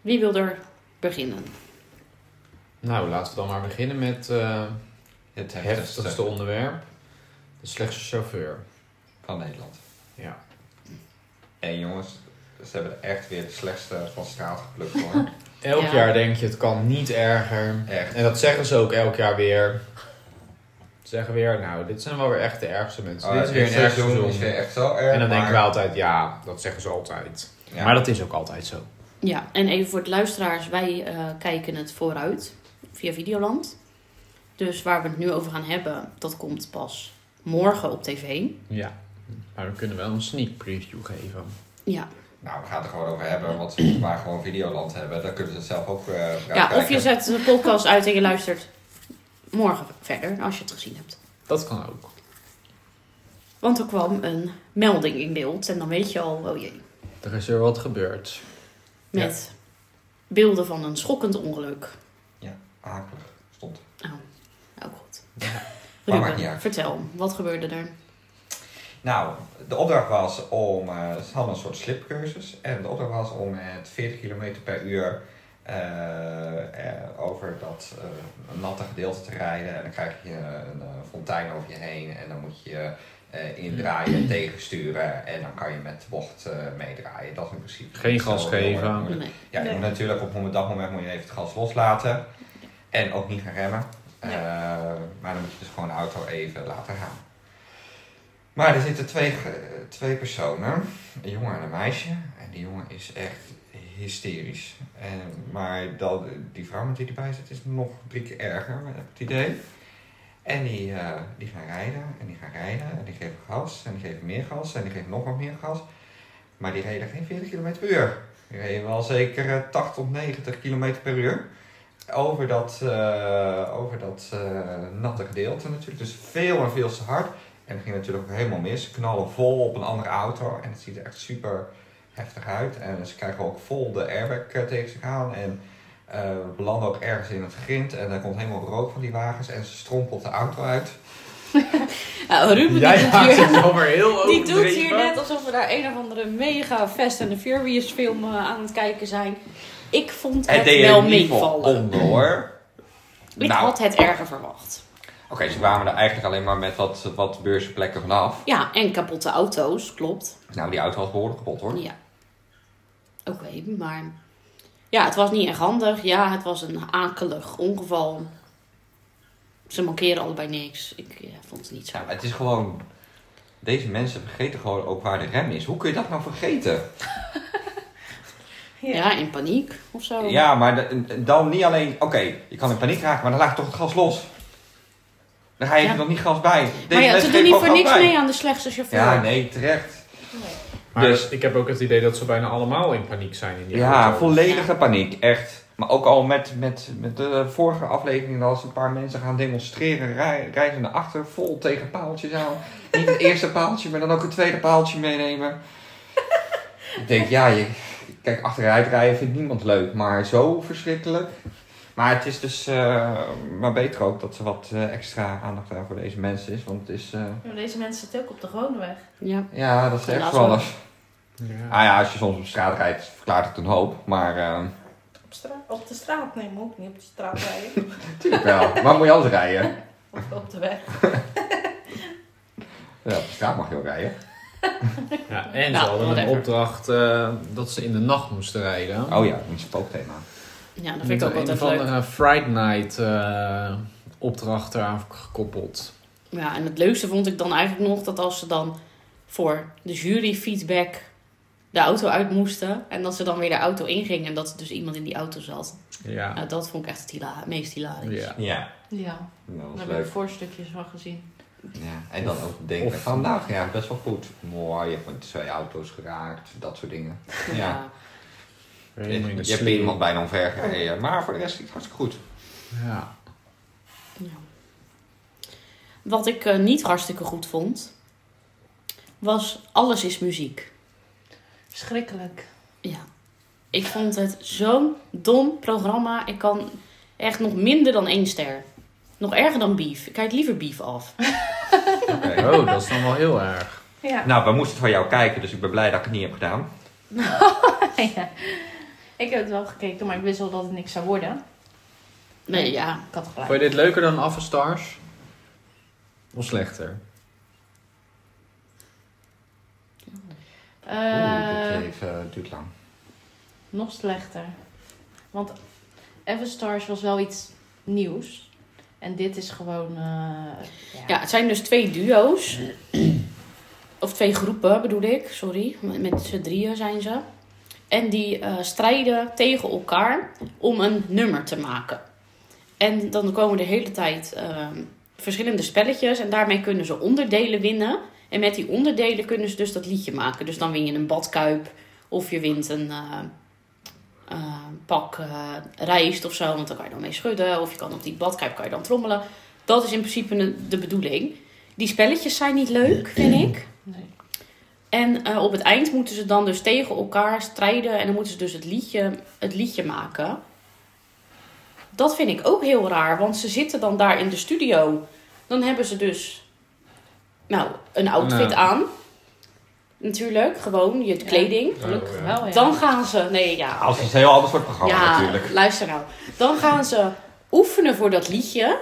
Wie wil er beginnen?
Nou, laten we dan maar beginnen met eh,
Het
het heftigste onderwerp. De slechtste chauffeur.
van Nederland.
Ja.
En jongens, ze hebben er echt weer de slechtste van straat geplukt hoor.
Elk
Ja.
jaar denk je, het kan niet erger.
echt.
En dat zeggen ze ook elk jaar weer. Ze zeggen weer, nou, dit zijn wel weer echt de ergste mensen. dit is weer een erg
seizoen Oh, is weer
seizoen.
echt zo erg.
En dan denken we
maar-
altijd, ja, dat zeggen ze altijd.
Ja.
Maar dat is ook altijd zo.
Ja, en even voor de luisteraars, wij eh, kijken het vooruit via Videoland. Dus waar we het nu over gaan hebben, dat komt pas morgen op tv.
Ja. Maar we kunnen wel een sneak preview geven.
Ja,
Nou, we gaan het er gewoon over hebben, want ze moeten maar gewoon Videoland hebben. Dan kunnen ze het zelf ook eh
ja of je
zegt.
zet de podcast uit en je luistert morgen verder, als je het gezien hebt.
Dat kan ook.
Want er kwam een melding in beeld en dan weet je al, oh jee,
Er is weer wat gebeurd.
met beelden van een schokkend ongeluk.
Akelig stond.
Oh, ook goed.
Maar maakt
Ruben,
niet uit.
vertel, wat gebeurde er?
Nou, de opdracht was om, eh ze hadden een soort slipcursus. En de opdracht was om het 40 km per uur eh, eh, over dat eh, natte gedeelte te rijden. En dan krijg je een eh, fontein over je heen en dan moet je eh, indraaien en tegensturen. En dan kan je met de bocht eh, meedraaien. Dat is in principe.
Geen
niet zo
gas
heel
geven.
erg moeilijk.
Nee.
Oh, Ja, je
Nee.
moet natuurlijk op een dag moment moet je even het gas loslaten. En ook niet gaan remmen.
Nee.
Eh, maar dan moet je dus gewoon de auto even laten gaan. Maar er zitten twee, ge- twee personen. Een jongen en een meisje. En die jongen is echt hysterisch. En, maar dat, die vrouw met wie die erbij zit is nog drie keer erger, heb ik het idee. En die, eh, die gaan rijden en die gaan rijden en die geven gas en die geven meer gas en die geven nog wat meer gas. Maar die reden geen 40 km per uur. Die reden wel zeker eh, 80 tot 90 km per uur. Over dat, eh, over dat eh, natte gedeelte natuurlijk. Dus veel en veel te hard. En het ging natuurlijk ook helemaal mis. Ze knallen vol op een andere auto. En het ziet er echt super heftig uit. En ze krijgen ook vol de airbag eh, tegen zich aan. En eh, we landen ook ergens in het grind. En er komt helemaal rook van die wagens. En ze strompelt de auto uit.
Nou, Ruben
Jij
die doet
gaat
hier,
het wel weer heel
Oh,
die doet hier
overdreven.
net alsof we daar een of andere mega Fast and the Furious film eh, aan het kijken zijn. Ik vond het,
Het deed
wel
er in ieder geval
meevallen.
onder hoor.
Ik
Nou.
had het erger verwacht.
Oké, ze kwamen er eigenlijk alleen maar met wat, wat beurzenplekken vanaf.
Ja, en kapotte auto's, klopt.
Nou, die auto was behoorlijk kapot hoor.
Ja. Oké, maar... Ja, het was niet erg handig. Ja, het was een akelig ongeval. Ze mankeren allebei niks. Ik ja, vond het niet zo.
Ja, maar Nou, het is gewoon... Deze mensen vergeten gewoon ook waar de rem is. Hoe kun je dat nou vergeten?
Ja.
Ja, in paniek of zo.
Ja, maar de- dan niet alleen... Oké, je kan in paniek raken, maar dan laat je toch het gas los. Dan ga je
Ja.
er nog niet gas bij. Deze
maar ja, ze
mensen
doen niet
geven
voor
ook
niks
gas bij.
mee aan de slechtste chauffeur.
Ja, nee, terecht.
Maar
Dus-
ik heb ook het idee dat ze bijna allemaal in paniek zijn in die
Ja,
auto.
volledige paniek, echt. Maar ook al met, met, met de vorige aflevering, als een paar mensen gaan demonstreren, rij, reizen naar achter, vol tegen paaltjes aan. Niet het eerste paaltje, maar dan ook het tweede paaltje meenemen. Ik denk, ja, je, kijk, achteruit rijden vindt niemand leuk, maar zo verschrikkelijk. Maar het is dus eh, maar beter ook dat er wat eh, extra aandacht daar voor deze mensen is. Want het is, eh,
Maar Deze mensen zitten ook op de gewone weg.
Ja.
ja, dat is echt
Helaas
wel
wel.
eens.
Ja.
Ah ja, als je soms op straat rijdt, verklaart het een hoop, maar... eh,
Op, straat, op de straat, nee, maar ook niet op de straat rijden.
Tuurlijk wel. Waar moet je anders rijden?
of op de weg.
Ja, op de straat mag je ook rijden.
Ja, en ze
Nou,
hadden een
whatever.
opdracht eh, dat ze in de nacht moesten rijden.
Oh ja, een spookthema.
ja, dat
Met
vind ik ook
een
altijd
van
leuk.
een Friday Night eh, opdracht eraan gekoppeld.
Ja, en het leukste vond ik dan eigenlijk nog dat als ze dan voor de jury feedback de auto uit moesten en dat ze dan weer de auto ingingen en dat er dus iemand in die auto zat.
Ja.
Nou, dat vond ik echt het hila- meest hilarisch.
Ah. ja.
Ja.
Ja,
Dat
daar
was
heb ik
leuk.
voorstukjes van gezien.
Ja, en dan ook denken,
of-
vandaag, ja, best wel goed. Mooi, je hebt met twee auto's geraakt, dat soort dingen.
Ja.
Ja. Je,
Helemaal in de
hebt
slee.
iemand bijna omver gereden, maar voor de rest ging het hartstikke goed.
Ja.
Ja. Wat ik eh, niet hartstikke goed vond, was Alles is muziek.
Schrikkelijk.
Ja. Ik vond het zo'n dom programma. Ik kan echt nog minder dan één ster. Nog erger dan Beef. Ik kijk liever Beef af.
Oké.
Oh, dat is dan wel heel erg.
Ja.
Nou, we moesten van jou kijken, dus ik ben blij dat ik het niet heb gedaan.
ja. Ik heb het wel gekeken, maar ik wist wel dat het niks zou worden.
Nee, ja.
Ik had gelijk.
Vond je dit leuker dan Affe Stars? Of slechter?
Eh,
Oeh, dit even, duurt lang.
nog slechter. Want Everstars was wel iets nieuws. En dit is gewoon... eh,
Ja, het zijn dus twee duo's. Of twee groepen bedoel ik, sorry. Met z'n drieën zijn ze. En die eh, strijden tegen elkaar om een nummer te maken. En dan komen de hele tijd eh, verschillende spelletjes. En daarmee kunnen ze onderdelen winnen. En met die onderdelen kunnen ze dus dat liedje maken. Dus dan win je een badkuip. Of je wint een eh, eh, pak eh, rijst of zo. Want daar kan je dan mee schudden. Of je kan op die badkuip kan je dan trommelen. Dat is in principe de- de bedoeling. Die spelletjes zijn niet leuk, vind ik.
Nee.
En eh, op het eind moeten ze dan dus tegen elkaar strijden. En dan moeten ze dus het liedje, het liedje maken. Dat vind ik ook heel raar. Want ze zitten dan daar in de studio. Dan hebben ze dus nou, een outfit
Nou.
aan. Natuurlijk, gewoon je kleding.
Gelukkig
Oh, ja.
wel, ja.
Dan gaan ze... Nee, ja,
Als het is een heel ander soort programma Oh, natuurlijk.
luister nou. Dan gaan ze oefenen voor dat liedje.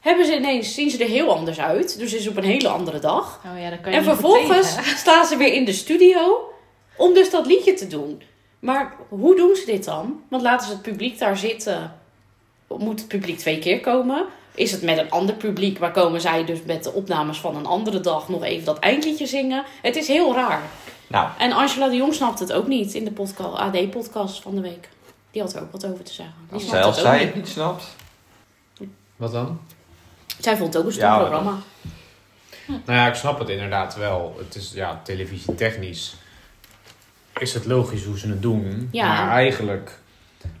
Hebben ze ineens, zien ze er heel anders uit. Dus is op een hele andere dag.
Oh ja, dat kan je
En
niet
vervolgens
tegen.
staan ze weer in de studio om dus dat liedje te doen. Maar hoe doen ze dit dan? Want laten ze het publiek daar zitten. Moet het publiek twee keer komen? Is het met een ander publiek? Waar komen zij dus met de opnames van een andere dag nog even dat eindliedje zingen? Het is heel raar.
Nou,
En Angela de Jong snapt het ook niet in de podcast, AD-podcast van de week. Die had er ook wat over te zeggen. Die
als
snapt
zelfs
het ook
zij het
niet.
niet snapt.
Wat dan?
Zij vond het ook een stom
Ja, maar
programma.
Nou ja, ik snap het inderdaad wel. Het is ja, televisietechnisch is het logisch hoe ze het doen.
Ja.
Maar eigenlijk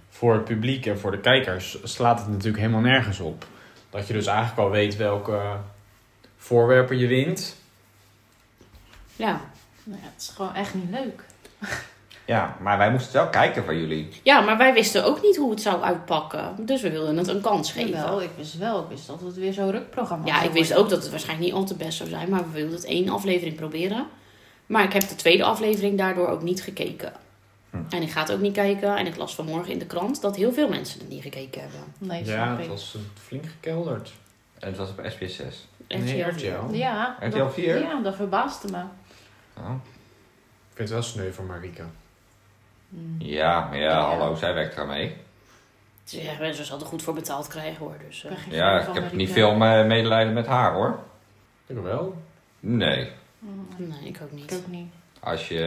voor het publiek en voor de kijkers slaat het natuurlijk helemaal nergens op. Dat je dus eigenlijk al weet welke voorwerpen je wint.
Ja.
Nou ja, het is gewoon echt niet leuk.
Ja, maar wij moesten het wel kijken van jullie.
ja, maar wij wisten ook niet hoe het zou uitpakken. Dus we wilden het een kans geven.
Jawel, ik wist wel. Ik wist dat het weer zo'n rukprogramma
Ja,
zou
ik wist
worden.
ook dat het waarschijnlijk niet al te best zou zijn. Maar we wilden het één aflevering proberen. Maar ik heb de tweede aflevering daardoor ook niet gekeken.
Hm.
En ik ga het ook niet kijken. En ik las vanmorgen in de krant dat heel veel mensen het niet gekeken hebben.
Nee,
ja,
snap
dat
ik.
was flink gekelderd.
En het was op SBS6.
RTL.
Nee, RTL. Ik
Ja,
RTL
dat-
4?
Ja, dat verbaasde me.
Oh.
vind het wel sneu voor Marika.
Hm.
Ja, maar ja, hallo, zij werkt eraan mee.
Het is echt, Ze hadden goed voor betaald krijgen hoor. Dus, eh.
ben geen fan
Ja,
van
ik heb
Marieke.
niet veel eh, medelijden met haar hoor.
Ik wel.
Nee,
Hm,
nee, ik ook
Ik
niet.
ook niet.
als je...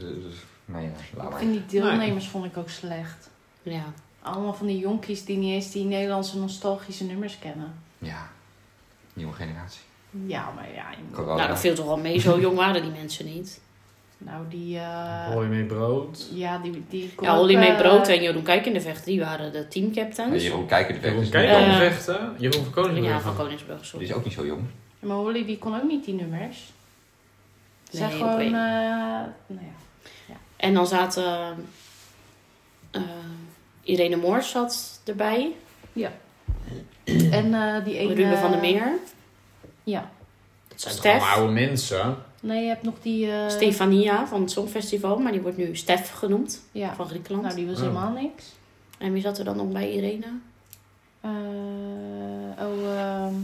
eh, Nee, ja, laat
Ik
maar.
vind die deelnemers vond ik ook slecht.
Ja.
Allemaal van die jonkies die niet eens die Nederlandse nostalgische nummers kennen.
Ja, nieuwe generatie.
Ja, maar ja. je moet-
Nou,
Corona.
dat viel toch wel mee. Zo jong waren die mensen niet.
Nou, die... eh,
Hoor je mee brood?
ja, die... die kon
Ja,
ook,
Olly
eh,
May Brood en Jeroen Kijk in de Vecht, die waren de teamcaptains.
Nee, Jeroen Kijker, die,
Jeroen
werkt
Kijk
dus niet
Eh,
al
jong.
vechten. Jeroen van Koningsbrugge.
Ja, van Koningsbrug,
die
sorry.
is ook niet zo jong.
Maar Olly, die kon ook niet die nummers. Ze
Nee,
gewoon...
oké.
eh, nou ja.
En dan zaten... eh, Irene Moors zat erbij.
En eh, die ene...
Ruben van der Meer.
Ja.
Het zijn toch
Stef.
allemaal oude mensen.
Nee, je hebt nog die... eh,
Stefania van het Songfestival, maar die wordt nu Stef genoemd
Ja.
van Griekenland.
Nou, die was
Oh.
helemaal niks.
En wie zat er dan nog bij Irene?
Eh, oh, ehm,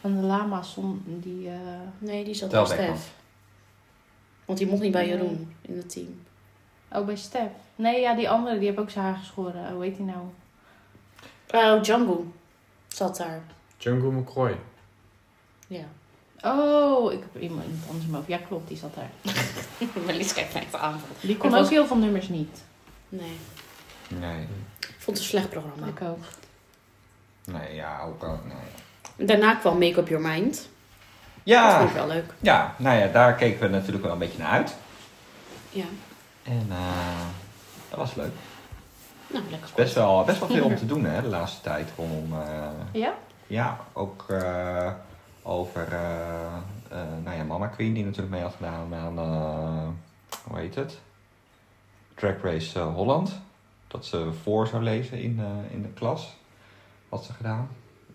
en de lama som, die... eh,
Nee, die zat bij
Tel Beckman.
Stef. Want die mocht niet bij
Nee.
Jeroen in het team.
oh, bij Stef. Nee, ja, die andere, die heeft ook zijn haar geschoren. Hoe heet die nou?
Oh, Django zat daar.
Django McCoy.
Ja.
Oh, ik heb iemand iemand anders in mijn hoofd. Ja, klopt, die zat daar.
Melis kijkt mij even aan. van-
Die
Dat
kon
was-
ook heel veel nummers niet.
Nee,
Nee,
ik vond het een slecht programma.
Ik ook.
nee, ja, ook al, nee.
Daarna kwam Make Up Your Mind. Dat vond
Ja,
ik wel leuk.
ja, nou ja, daar keken we natuurlijk wel een beetje naar uit.
Ja.
En eh, dat was leuk.
Nou, lekker.
Best wel, best wel veel om te doen hè, de laatste tijd rondom... eh,
Ja?
ja, ook eh, over eh, eh, nou ja, Mama Queen, die natuurlijk mee had gedaan aan, eh, hoe heet het? Track Race eh, Holland. Dat ze voor zou lezen in, eh, in de klas, had ze gedaan.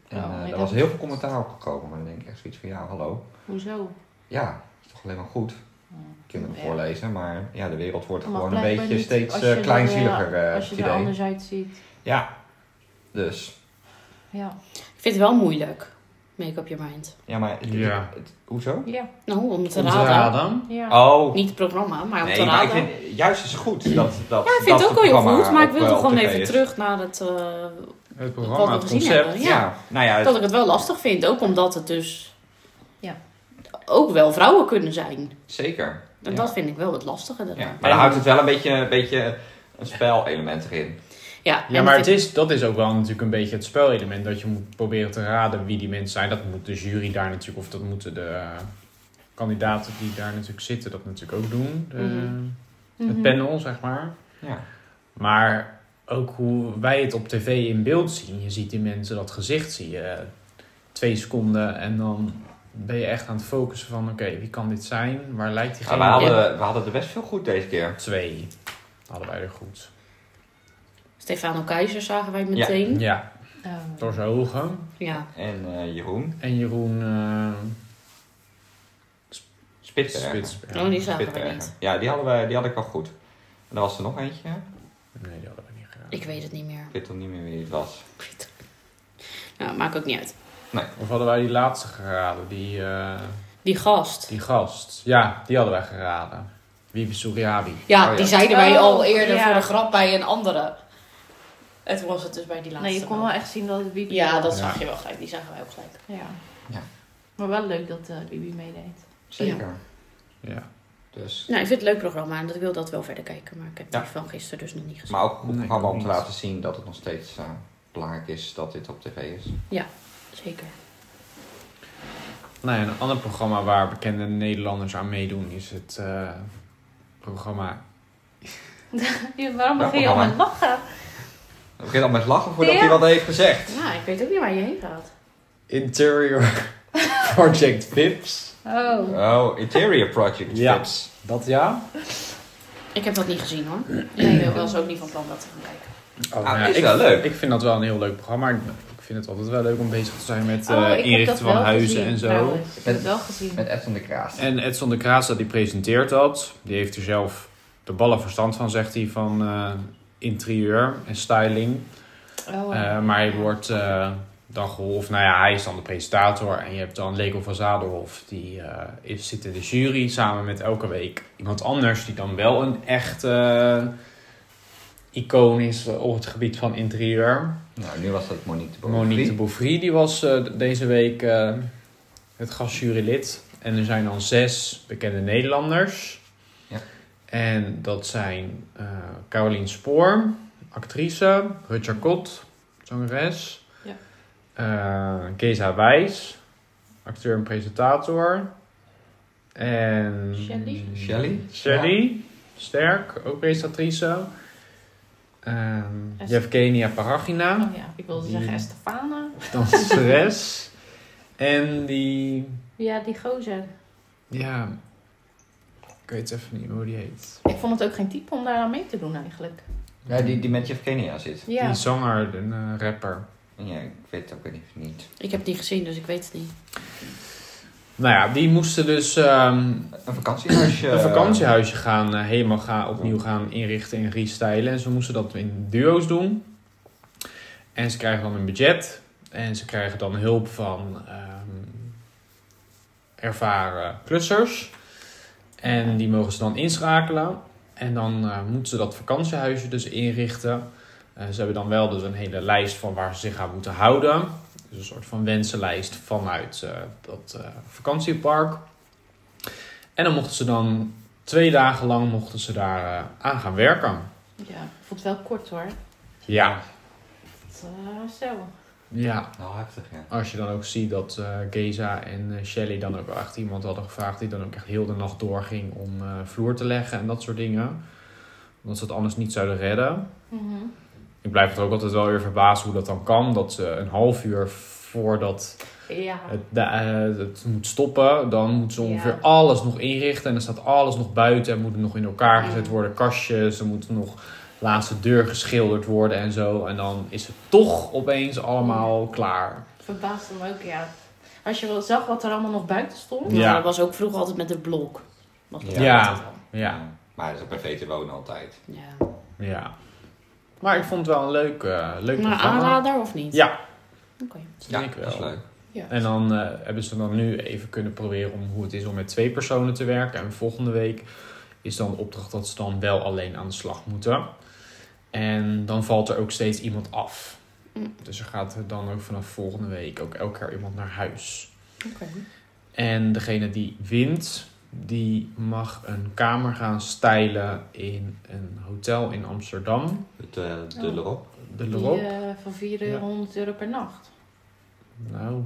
En
Oh,
eh,
nee,
daar
dat
was
is-
heel veel commentaar op gekomen, maar dan denk ik echt zoiets van, ja, hallo.
Hoezo?
Ja, dat is toch alleen maar goed. Kinderen
Ja.
voorlezen, maar ja, de wereld wordt
Maar
gewoon een
blijkbaar
beetje
niet
steeds
als je
eh,
er,
kleinzieliger, eh,
Als je
het
er
idee.
anders uitziet.
Ja, dus...
Ja.
Ik vind het wel moeilijk. Make up your mind.
Ja, maar... het-
Ja.
het- het- hoezo?
Ja.
Nou, om het te
Om te
raden.
raden.
Ah,
ja.
Oh,
Niet het programma, maar om
nee,
te
maar
raden.
ik vind, juist is het goed dat, dat
ja, ik vind
dat
het ook wel heel
programma
goed, maar ik
ook
wil
wel
toch gewoon
op tv
even
is.
terug naar het... eh,
Het
Wat
programma,
we
het
gezien
concept.
hebben,
Ja. nou ja, het-
dat ik het wel lastig vind. Ook omdat het dus
Ja.
ook wel vrouwen kunnen zijn.
zeker.
En
Ja.
dat vind ik wel het lastige
Ja,
daaraan.
Maar dan houdt het wel een beetje een, beetje een spelelement erin.
Ja,
Ja,
en
maar
ik
het is, dat is ook wel natuurlijk een beetje het spelelement. Dat je moet proberen te raden wie die mensen zijn. Dat moet de jury daar natuurlijk, of dat moeten de eh, kandidaten die daar natuurlijk zitten, dat natuurlijk ook doen. De-
Mhm.
Het panel, zeg maar.
Ja.
Maar ook hoe wij het op tv in beeld zien. Je ziet die mensen dat gezicht zie je eh, twee seconden en dan ben je echt aan het focussen van oké, wie kan dit zijn? Waar lijkt
Ja, we,
diegene op?
hadden, we hadden er best veel goed deze keer.
Twee hadden wij er goed.
Stefano Keizer zagen wij meteen. Ja.
Ja,
Ehm,
Torse Hoge
En eh, Jeroen
en Jeroen eh
Spitsbergen.
Spitsbergen.
Oh, die zagen wij
Spitsbergen.
niet.
Ja, die, hadden wij, die had ik wel goed. En dan was er nog eentje.
Nee, die hadden we niet gedaan.
Ik weet het niet meer.
Ik weet toch niet meer wie het was.
Ik weet het. Nou, maakt ook niet uit.
Of hadden wij die laatste geraden? Die, eh,
Die gast.
die gast. Ja, die hadden wij geraden. Wiebe Suriabi.
Ja,
Oh, ja.
die zeiden wij
Oh,
al eerder
ja.
voor de grap bij een andere. En toen was het dus bij die laatste.
nee, je kon
wel.
wel echt zien dat het Bibi
Ja,
was.
dat
Ja.
zag je wel gelijk. Die zagen wij ook gelijk.
Ja.
Ja.
Maar wel leuk dat eh Bibi meedeed.
Zeker.
Ja.
Dus.
Nou, ik vind het een leuk programma en ik wil dat wel verder kijken. Maar ik heb
Ja.
die van gisteren dus nog niet gezien.
Maar ook een goed
Nee,
programma om
niet.
te laten zien dat het nog steeds eh, belangrijk is dat dit op tv is.
Zeker.
Nou ja, een ander programma waar bekende Nederlanders aan meedoen is het eh, programma.
Ja, waarom
Ja,
begin je al
programma.
met lachen?
We beginnen al met lachen voordat
Ja.
hij wat heeft gezegd.
Ja, ik weet ook niet waar je heen gaat.
Interior Project Vips.
Oh.
Oh, Interior Project
Ja.
Vips.
Dat ja?
Ik heb dat niet gezien hoor. Nee, ik was ook niet van plan dat te gaan kijken.
Oh,
Ah,
ja,
is
ik,
wel leuk.
Ik vind dat wel een heel leuk programma. Ik, ik vind het altijd wel leuk om bezig te zijn met eh,
Oh, ik heb
inrichten
dat
van
wel
huizen
gezien, Nou, eh.
en
trouwens.
zo.
Ik heb het wel gezien.
Met Edson de Kraas.
En Edson de Kraas, die presenteert dat. Die heeft er zelf de ballen verstand van, zegt hij, van eh, interieur en styling.
Oh,
Eh, maar hij wordt eh, dan geholpen, nou ja, hij is dan de presentator. En je hebt dan Leko van Zadelhof, die eh, is, zit in de jury samen met elke week iemand anders die dan wel een echt eh, icoon is op het gebied van interieur.
Nou, nu was dat Monique de Boer.
Monique de Beauvry, die was eh, deze week eh, het gastjurylid. En er zijn dan zes bekende Nederlanders.
Ja.
En dat zijn eh Caroline Spoor, actrice. Rutger Kot, zangeres.
Ja.
Eh, Geza Wijs, acteur en presentator. En...
Shelley?
Shelley?
Shelley, sterk, ook presentatrice. Ehm
Esther.
Yevgenia Paragina
Oh ja, ik wilde zeggen
Die-
Estefane.
danseres. en die,
Ja, die gozer.
ja, ik weet even niet meer hoe die heet.
Ik vond het ook geen type om daar aan mee te doen eigenlijk.
Ja, die, die met Jeff Kenia zit.
Ja.
Die zanger, een eh, rapper.
Ja, ik weet het ook even niet.
Ik heb het niet gezien, dus ik weet het niet.
Nou ja, die moesten dus ehm,
Een vakantiehuisje.
een vakantiehuisje gaan, eh, helemaal gaan, opnieuw gaan inrichten en restylen. En ze moesten dat in duo's doen. En ze krijgen dan een budget. En ze krijgen dan hulp van ehm, ervaren klussers. En die mogen ze dan inschakelen. En dan eh, moeten ze dat vakantiehuisje dus inrichten. Eh, ze hebben dan wel dus een hele lijst van waar ze zich aan moeten houden. Dus een soort van wensenlijst vanuit eh, dat eh, vakantiepark. En dan mochten ze dan twee dagen lang mochten ze daar eh, aan gaan werken.
ja. Ik vond het wel kort hoor.
Ja.
Het, eh, zo.
ja.
Nou, heftig, ja.
Als je dan ook ziet dat eh Geza en eh, Shelley dan ook wel echt iemand hadden gevraagd die dan ook echt heel de nacht doorging om eh, vloer te leggen en dat soort dingen. Omdat ze het anders niet zouden redden.
Mhm.
Ik blijf het ook altijd wel weer verbaasd hoe dat dan kan. Dat ze een half uur v- voordat
Ja.
het, de- eh, het moet stoppen, dan moeten ze
Ja.
ongeveer alles nog inrichten. En dan staat alles nog buiten en moet het nog in elkaar
Ja.
gezet worden. Kastjes, er moet nog laatste deur geschilderd worden en zo. En dan is het toch opeens allemaal klaar.
Verbaasde me ook, ja. Als je wel zag wat er allemaal nog buiten stond.
Ja.
Ja. Dat was ook vroeger altijd met een blok. Was dat
Ja.
altijd al.
Ja,
Maar het is ook perfect te wonen altijd.
ja.
ja. Maar ik vond het wel een leuk, eh leuk
Maar
programma.
Nou, aanrader of niet?
Ja.
Oké.
Dat
Ja,
vind ik
dat is
wel.
leuk.
En dan eh, hebben ze dan nu even kunnen proberen om hoe het is om met twee personen te werken. En volgende week is dan de opdracht dat ze dan wel alleen aan de slag moeten. En dan valt er ook steeds iemand af.
Mm.
Dus er gaat er dan ook vanaf volgende week ook elke keer iemand naar huis.
Oké.
En degene die wint, die mag een kamer gaan stijlen in een hotel in Amsterdam.
Het eh
Oh.
de erop.
De
Die,
Lerop.
eh, van 400 euro per nacht.
Nou, ik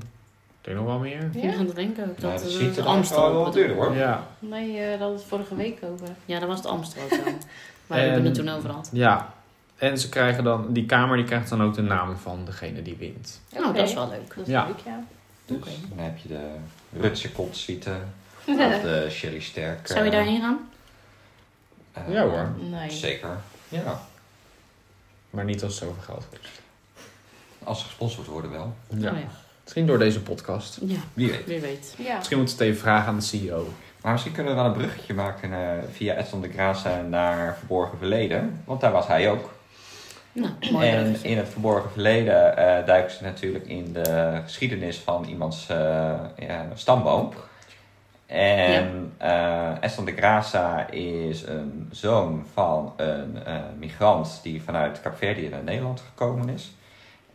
denk nog wel meer.
Ja,
Ja?
dat denk ik ook.
Nou,
Dat
dat
is
ziet
het
er Amsterdam wel wat
Amsterdam.
duurder hoor.
Ja.
Nee, eh, dat was vorige week over.
Ja, dat was het Amsterdam. hotel. Waar
En-
hebben we het toen over had.
Ja, en ze krijgen dan, die kamer die krijgt dan ook de naam van degene die wint.
Nou, dat is wel leuk.
Oh, Dat is
Ja.
leuk, ja.
Dus
Oké.
dan heb je de Rutse Kotsuite. Of de Sherry Sterk.
Zou je
eh,
daarheen gaan?
eh,
Ja hoor.
Nee.
Zeker. Ja.
Maar niet als het over geld gaat.
Als ze gesponsord worden wel.
Oh,
Ja.
ja.
Misschien door deze podcast.
ja,
Wie weet.
wie weet.
Ja.
Misschien moeten we het even vragen aan de E CEO.
Maar misschien kunnen we wel een bruggetje maken eh, via Edson de Graça naar Verborgen Verleden. Want daar was hij ook.
Nou, mooi
en
bruggetje.
in het verborgen verleden eh duiken ze natuurlijk in de geschiedenis van iemands eh, ja, stamboom. En eh Eston de Graça is een zoon van een eh, migrant die vanuit Capverdië naar Nederland gekomen is.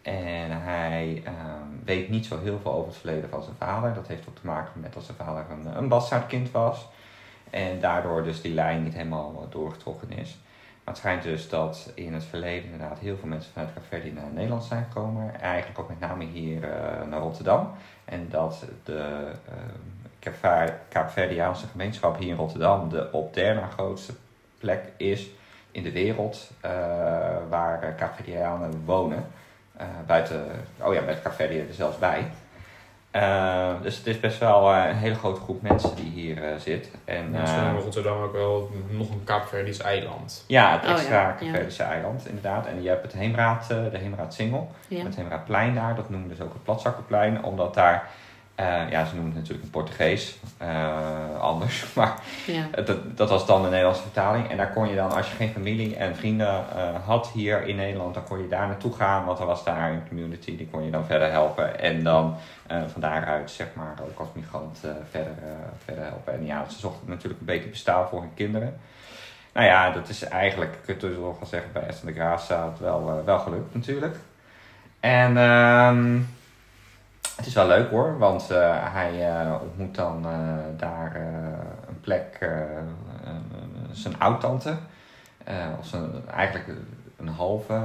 En hij eh, weet niet zo heel veel over het verleden van zijn vader. Dat heeft ook te maken met dat zijn vader een, een bastaardkind was. En daardoor dus die lijn niet helemaal eh, doorgetrokken is. Maar het schijnt dus dat in het verleden inderdaad heel veel mensen vanuit Caverdi naar Nederland zijn gekomen. Eigenlijk ook met name hier eh, naar Rotterdam. En dat de eh, uh, Kaapverdiaanse gemeenschap hier in Rotterdam de op derde na grootste plek is in de wereld eh, waar eh, Kaapverdianen wonen. Eh, buiten, oh ja, bij Caverdi er zelfs bij. Eh, dus het is best wel eh, een hele grote groep mensen die hier eh, zit. En,
Ze
eh,
hebben Rotterdam ook wel nog een Kaapverdisch eiland.
ja, het
Oh ja,
extra
ja.
Caribische eiland, inderdaad. En je hebt het Heemraad, eh, de Heemraad Singel,
Ja.
het Heemraadplein daar. Dat noemen ze ook het Platzakkerplein, omdat daar, eh, ja, ze noemen het natuurlijk in Portugees, eh, anders. Maar
Ja.
het- dat, dat was dan de Nederlandse vertaling. En daar kon je dan, als je geen familie en vrienden eh, had hier in Nederland, dan kon je daar naartoe gaan, want er was daar een community, die kon je dan verder helpen. En dan eh, van daaruit, zeg maar, ook als migrant eh, verder, eh, verder helpen. En ja, ze zochten natuurlijk een beter bestaan voor hun kinderen. Nou ja, dat is eigenlijk, kun je het dus wel gaan zeggen, bij Aston de Graça het wel, eh, wel gelukt natuurlijk. En ehm, het is wel leuk hoor, want eh, hij eh, ontmoet dan eh, daar eh, een plek, eh, een- een- zijn oud-tante. Eh, of zijn, eigenlijk een halve eh,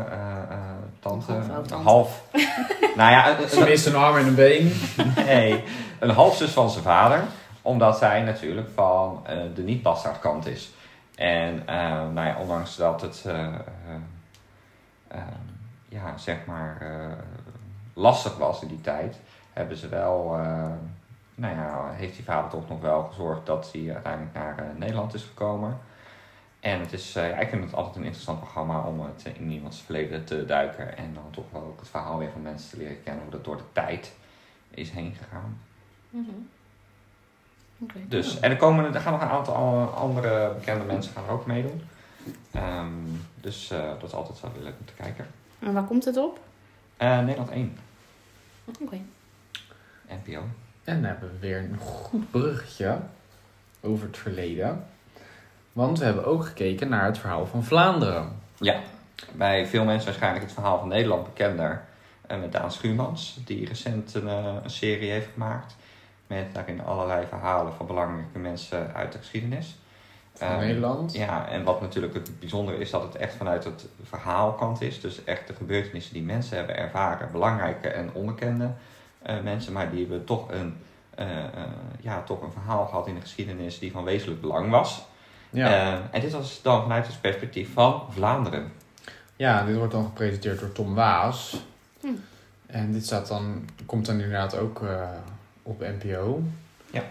eh, tante.
Een halve oud-tante.
half. nou ja, een- een-
Ze mist een arm en een been.
Nee, een halfzus van zijn vader. Omdat zij natuurlijk van eh, de niet-bastaardkant is. En eh, nou ja, ondanks dat het, eh, eh, eh, ja, zeg maar, eh, lastig was in die tijd, hebben ze wel, eh, nou ja, heeft die vader toch nog wel gezorgd dat hij uiteindelijk naar eh, Nederland is gekomen. En het is, eh, ja, ik vind het altijd een interessant programma om het in iemands verleden te duiken. En dan toch wel ook het verhaal weer van mensen te leren kennen, hoe dat door de tijd is heen gegaan.
Mhm.
Oké.
Dus, en er, komen, er gaan nog een aantal an- andere bekende mensen gaan er ook meedoen. Ehm, dus eh, dat is altijd wel weer leuk om te kijken.
En waar komt het op?
Eh, Nederland 1,
Oké.
NPO.
En dan hebben we weer een goed bruggetje over het verleden. Want we hebben ook gekeken naar het verhaal van Vlaanderen.
Bij veel mensen waarschijnlijk het verhaal van Nederland bekender. eh, met Daan Schuurmans, die recent een, eh, een serie heeft gemaakt. Met daarin allerlei verhalen van belangrijke mensen uit de geschiedenis.
Van
Ehm,
Nederland.
Ja, en wat natuurlijk het bijzondere is dat het echt vanuit het verhaalkant is. Dus echt de gebeurtenissen die mensen hebben ervaren, belangrijke en onbekende eh, mensen, maar die hebben toch een, eh, eh, ja, toch een verhaal gehad in de geschiedenis die van wezenlijk belang was.
Ja.
Eh, en dit was dan vanuit het perspectief van Vlaanderen.
Ja, dit wordt dan gepresenteerd door Tom Waas.
Hm.
En dit staat dan, komt dan inderdaad ook eh, op NPO.
Ja.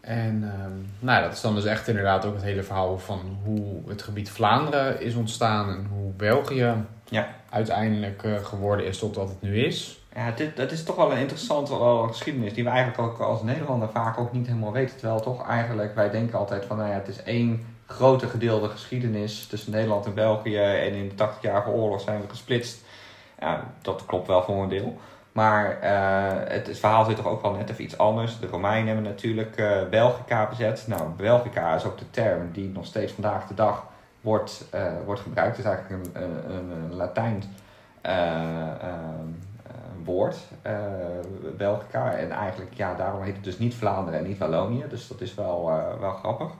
En ehm, nou, ja, dat is dan dus echt inderdaad ook het hele verhaal van hoe het gebied Vlaanderen is ontstaan en hoe België
Ja.
uiteindelijk eh, geworden is tot wat het nu is.
Ja, dit, dat is toch wel een interessante wel, geschiedenis die we eigenlijk ook als Nederlander vaak ook niet helemaal weten. Terwijl toch eigenlijk, wij denken altijd van, nou ja, het is één grote gedeelde geschiedenis tussen Nederland en België. En in de 80-jarige oorlog zijn we gesplitst. Ja, dat klopt wel voor een deel. Maar eh, het, het verhaal zit toch ook wel net even iets anders. De Romeinen hebben natuurlijk eh, Belgica bezet. Nou, Belgica is ook de term die nog steeds vandaag de dag wordt, eh, wordt gebruikt. Het is eigenlijk een, een, een Latijn eh, ehm, eh, woord, eh, Belgica. En eigenlijk, ja, daarom heet het dus niet Vlaanderen en niet Wallonië. Dus dat is wel, eh, wel grappig.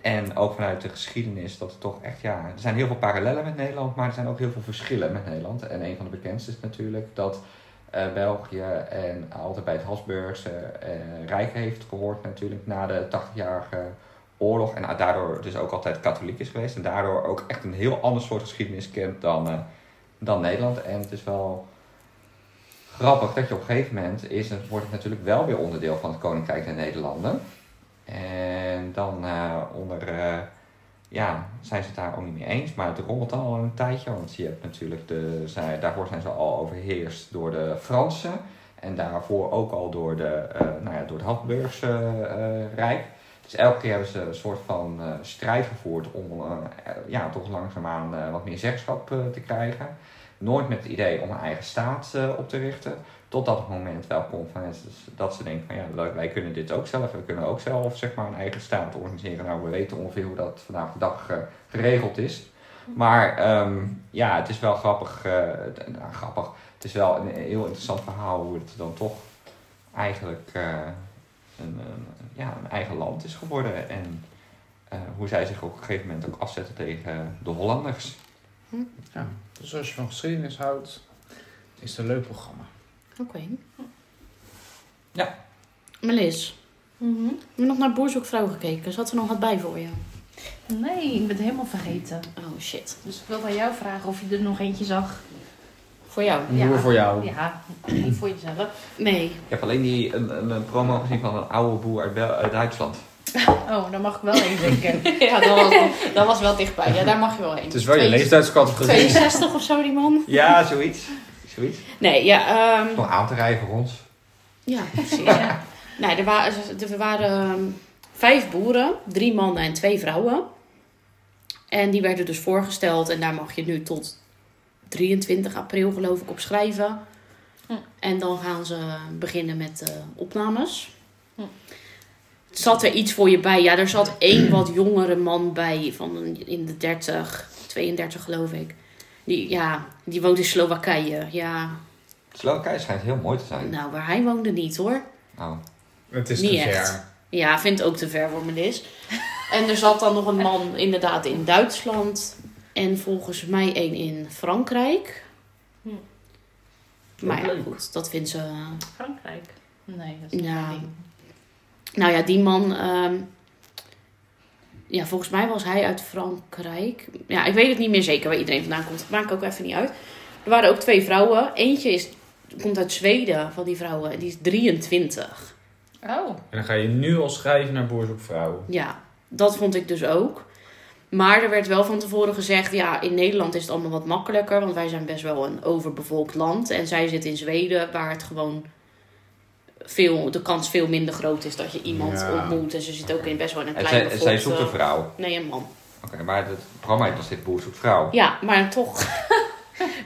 En ook vanuit de geschiedenis, dat het toch echt, ja, er zijn heel veel parallellen met Nederland, maar er zijn ook heel veel verschillen met Nederland. En een van de bekendste is natuurlijk dat eh, België en altijd bij het Habsburgse eh, Rijk heeft gehoord natuurlijk na de 80-jarige oorlog. En daardoor dus ook altijd katholiek is geweest. En daardoor ook echt een heel ander soort geschiedenis kent dan, eh, dan Nederland. En het is wel grappig dat je op een gegeven moment is, het wordt het natuurlijk wel weer onderdeel van het Koninkrijk der Nederlanden. En dan eh, onder, eh, ja, zijn ze het daar ook niet mee eens. Maar het rommelt al een tijdje, want je hebt natuurlijk de, zij, daarvoor zijn ze al overheerst door de Fransen. En daarvoor ook al door, de, eh nou ja, door het Habsburgse eh, Rijk. Dus elke keer hebben ze een soort van eh, strijd gevoerd om eh, ja, toch langzaamaan eh, wat meer zeggenschap eh, te krijgen nooit met het idee om een eigen staat eh, op te richten. Tot dat moment wel komt van mensen dat ze denken van ja, leuk, wij kunnen dit ook zelf. We kunnen ook zelf zeg maar een eigen staat organiseren. Nou, we weten ongeveer hoe dat vandaag de dag eh, geregeld is. Maar ehm, ja, het is wel grappig. eh, d- nou, grappig. Het is wel een heel interessant verhaal hoe het dan toch eigenlijk eh, een, een- ja, een eigen land is geworden. En eh, hoe zij zich op een gegeven moment ook afzetten tegen de Hollanders.
Ja. Dus als je van geschiedenis houdt, is het een leuk programma.
Oké.
Ja.
Melis,
Mhm.
heb je nog naar Boerzoekvrouw gekeken? Zat er nog wat bij voor je?
Nee, ik ben het helemaal vergeten.
Oh shit.
Dus ik wil van jou vragen of je er nog eentje zag.
Voor jou?
Een boer voor jou.
Ja, niet voor jezelf.
Nee.
Ik heb alleen die, een, een, een promo gezien van een oude boer uit, Bel- uit Duitsland.
Oh, dan mag ik wel één denken.
ja, dat was, dat was wel dichtbij. Ja, daar mag je wel heen.
Het is wel je leeftijdscategorie.
62 of zo, die man?
Ja, zoiets. Zoiets.
Nee, ja. ehm,
Nog aan te rijden voor ons.
Ja, precies. ja. Nee, er waren, er waren ehm, vijf boeren, drie mannen en twee vrouwen. En die werden dus voorgesteld en daar mag je nu tot 23 april geloof ik op schrijven.
Hm.
En dan gaan ze beginnen met eh, opnames.
Hm.
Zat er iets voor je bij? Ja, er zat één wat jongere man bij van een- in de 30, 32 geloof ik. Die, ja, die woont in Slowakije. Ja,
Slowakije schijnt heel mooi te zijn.
nou, waar hij woonde niet hoor.
Oh.
Het is
Niet
te
echt.
ver.
Ja, vindt ook te ver voor Melis. En er zat dan nog een man inderdaad in Duitsland. En volgens mij één in Frankrijk.
Hm.
Maar ja,
Leuk.
goed, dat vindt ze... eh,
Frankrijk. Nee, dat is
Ja.
niet.
Nou ja, die man... ehm, Ja, volgens mij was hij uit Frankrijk. Ja, ik weet het niet meer zeker waar iedereen vandaan komt. Maakt ook even niet uit. Er waren ook twee vrouwen. Eentje is, komt uit Zweden van die vrouwen. Die is 23.
Oh.
En dan ga je nu al schrijven naar Boers op Vrouwen.
Ja, dat vond ik dus ook. Maar er werd wel van tevoren gezegd, ja, in Nederland is het allemaal wat makkelijker, want wij zijn best wel een overbevolkt land. En zij zit in Zweden, waar het gewoon veel, de kans veel minder groot is dat je iemand
Ja.
ontmoet. En ze zit ook in best wel in een
En
klein
zij, zij
bevolkt,
zoekt een
eh,
vrouw. Oké,
Nee, een man.
maar het programma heet nog steeds Boer zoekt vrouw.
Ja, maar toch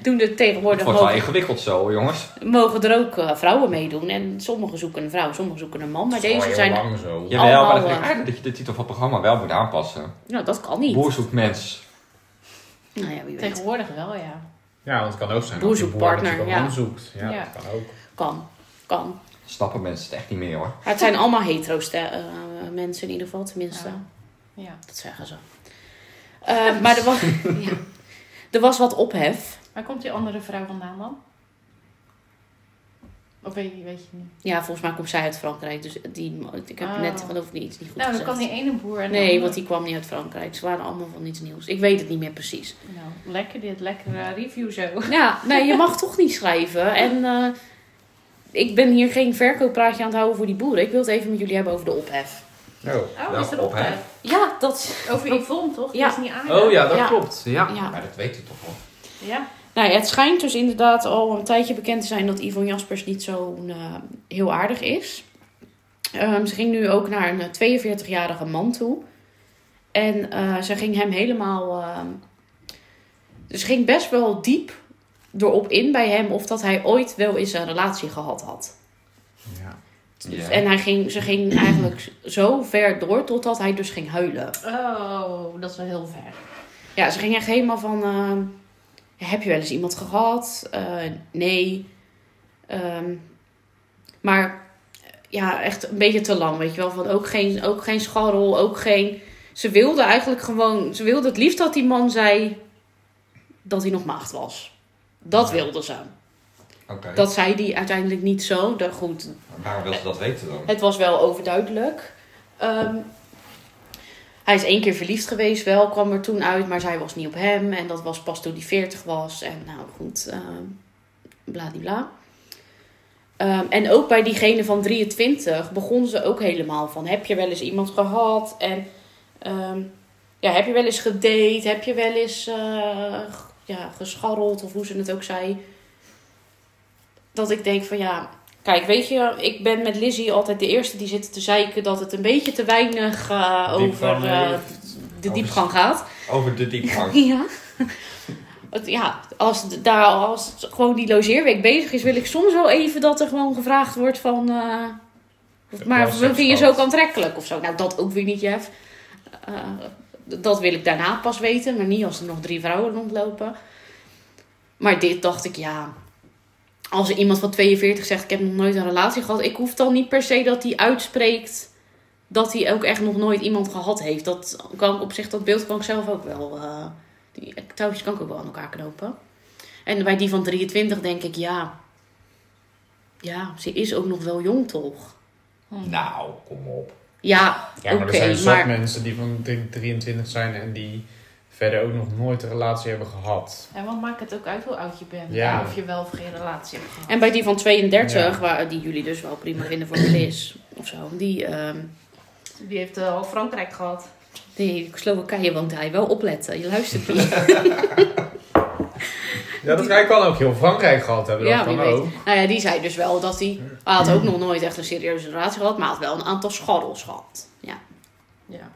doen er
Het
tegenwoordig
wordt wel
mogen,
ingewikkeld zo, jongens.
mogen er ook eh, vrouwen meedoen. En sommigen zoeken een vrouw, sommigen zoeken een man. Maar
Het is al
deze
Oh, heel
zijn...
lang zo.
Jawel, maar
Allemaal,
dat vind ik
eh,
eigenlijk dat je de titel van het programma wel moet aanpassen.
Nou, dat kan niet.
Boer zoekt mens.
Nou ja, wie weet.
Tegenwoordig wel, ja.
Ja, want het kan ook zijn
Boer
dat je
zoekt
boer natuurlijk
partner,
een
ja.
man zoekt. Ja,
Ja.
dat kan ook.
Kan. Kan.
Snappen mensen het echt niet meer hoor.
Maar het zijn allemaal hetero ste- eh, mensen in ieder geval, tenminste.
Ja. ja.
Dat zeggen ze. Eh, maar er was, ja. er was wat ophef.
Waar komt die andere vrouw vandaan dan? Of weet je, weet je niet.
Ja, volgens mij komt zij uit Frankrijk. Dus die, ik heb
Oh.
net geloof ik niet iets niet goed
Nou, dan
gezegd.
kan die ene boer en de
Nee,
andere-
want die kwam niet uit Frankrijk. Ze waren allemaal van iets nieuws. Ik weet het niet meer precies.
Nou, lekker dit, lekkere review zo.
Ja, nee, je mag toch niet schrijven. En eh, ik ben hier geen verkooppraatje aan het houden voor die boeren. Ik wil het even met jullie hebben over de ophef.
Oh,
Oh, is er ophef?
Ja, dat...
Over Yvonne, toch?
Ja.
Die is niet aan.
Oh ja, dat
Ja.
klopt. Ja.
Ja.
Maar dat weet hij toch wel.
Ja.
Nou, ja, het schijnt dus inderdaad al een tijdje bekend te zijn dat Yvonne Jaspers niet zo heel aardig is. Ehm, ze ging nu ook naar een eh, 42-jarige man toe. En eh, ze ging hem helemaal. ehm, ze ging best wel diep erop in bij hem of dat hij ooit wel eens een relatie gehad had.
Ja.
Dus-
Ja.
En hij ging, ze ging eigenlijk zo ver door totdat hij dus ging huilen.
Oh, dat is wel heel ver.
Ja, ze ging echt helemaal van... ehm, heb je wel eens iemand gehad? Eh, nee. Ehm, maar ja, echt een beetje te lang, weet je wel. Van ook geen, ook geen scharrel, ook geen... Ze wilde eigenlijk gewoon... Ze wilde het liefst dat die man zei dat hij nog maagd was. Dat wilde ze.
Oké.
Dat zei die uiteindelijk niet zo. Dat, goed,
Maar Waarom wil ze dat weten dan?
het was wel overduidelijk. Ehm, hij is één keer verliefd geweest, wel kwam er toen uit, maar zij was niet op hem. En dat was pas toen hij 40 was. En nou goed, ehm bladibla. Ehm, en ook bij diegene van 23 begon ze ook helemaal van: heb je wel eens iemand gehad? En ehm, ja, heb je wel eens gedate? Heb je wel eens eh, g- ja, gescharreld? Of hoe ze het ook zei. Dat ik denk van ja, kijk, weet je, ik ben met Lizzie altijd de eerste die zit te zeiken dat het een beetje te weinig eh, over
Diepgang
eh,
heeft.
de
Over-
diepgang gaat.
Over de diepgang.
Ja. Het- Ja, als, d- daar, als het gewoon die logeerweek bezig is, wil ik soms wel even dat er gewoon gevraagd wordt van... eh, of- maar
Wel
vind je
seks
ze ook
gehad.
aantrekkelijk of zo? Nou, dat ook weer niet, Jeff. Eh, d- dat wil ik daarna pas weten, maar niet als er nog drie vrouwen rondlopen. Maar dit dacht ik, ja... Als er iemand van 42 zegt, ik heb nog nooit een relatie gehad... Ik hoef dan niet per se dat hij uitspreekt dat hij ook echt nog nooit iemand gehad heeft. Dat kan ik op zich, dat beeld kan ik zelf ook wel. eh, die touwtjes kan ik ook wel aan elkaar knopen. En bij die van 23 denk ik, ja. Ja, ze is ook nog wel jong, toch?
Nou, kom op.
Ja,
Ja, maar
oké.
er zijn zat
maar
mensen die van 23 zijn en die verder ook nog nooit een relatie hebben gehad.
En wat maakt het ook uit hoe oud je bent?
Ja.
Of je wel of geen relatie hebt gehad.
En bij die van 32,
Ja.
waar, die jullie dus wel prima vinden voor Liz of zo. Die, ehm
Die heeft eh, al Frankrijk gehad.
die Slowakije woont hij. Wel opletten, je luistert niet.
Ja, dat hij kan ook heel Frankrijk gehad hebben.
ja,
dat
wie
kan
weet.
ook.
Nou ja, die zei dus wel dat hij... Hij had ook nog nooit echt een serieuze relatie gehad, maar had wel een aantal scharrels gehad. Ja.
Ja.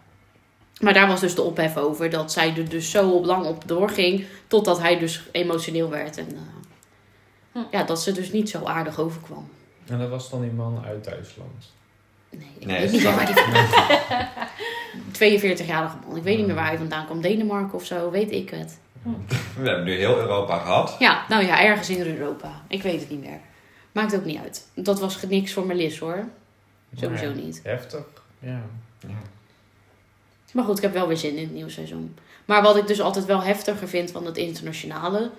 Maar daar was dus de ophef over dat zij er dus zo op lang op doorging. Totdat hij dus emotioneel werd. En eh, ja, dat ze dus niet zo aardig overkwam.
En dat was dan die man uit Duitsland.
Nee, ik
Nee,
weet
dat
niet
is
meer
waar.
waar die 42-jarige man. Ik weet
Hmm.
niet meer waar hij vandaan kwam. Denemarken of zo, weet ik het.
We hebben nu heel Europa gehad.
Ja, nou ja, ergens in Europa. Ik weet het niet meer. Maakt ook niet uit. Dat was niks voor Melis hoor. Sowieso
Maar ja,
niet.
Heftig. Ja.
Maar goed, ik heb wel weer zin in het nieuwe seizoen. Maar wat ik dus altijd wel heftiger vind van het internationale,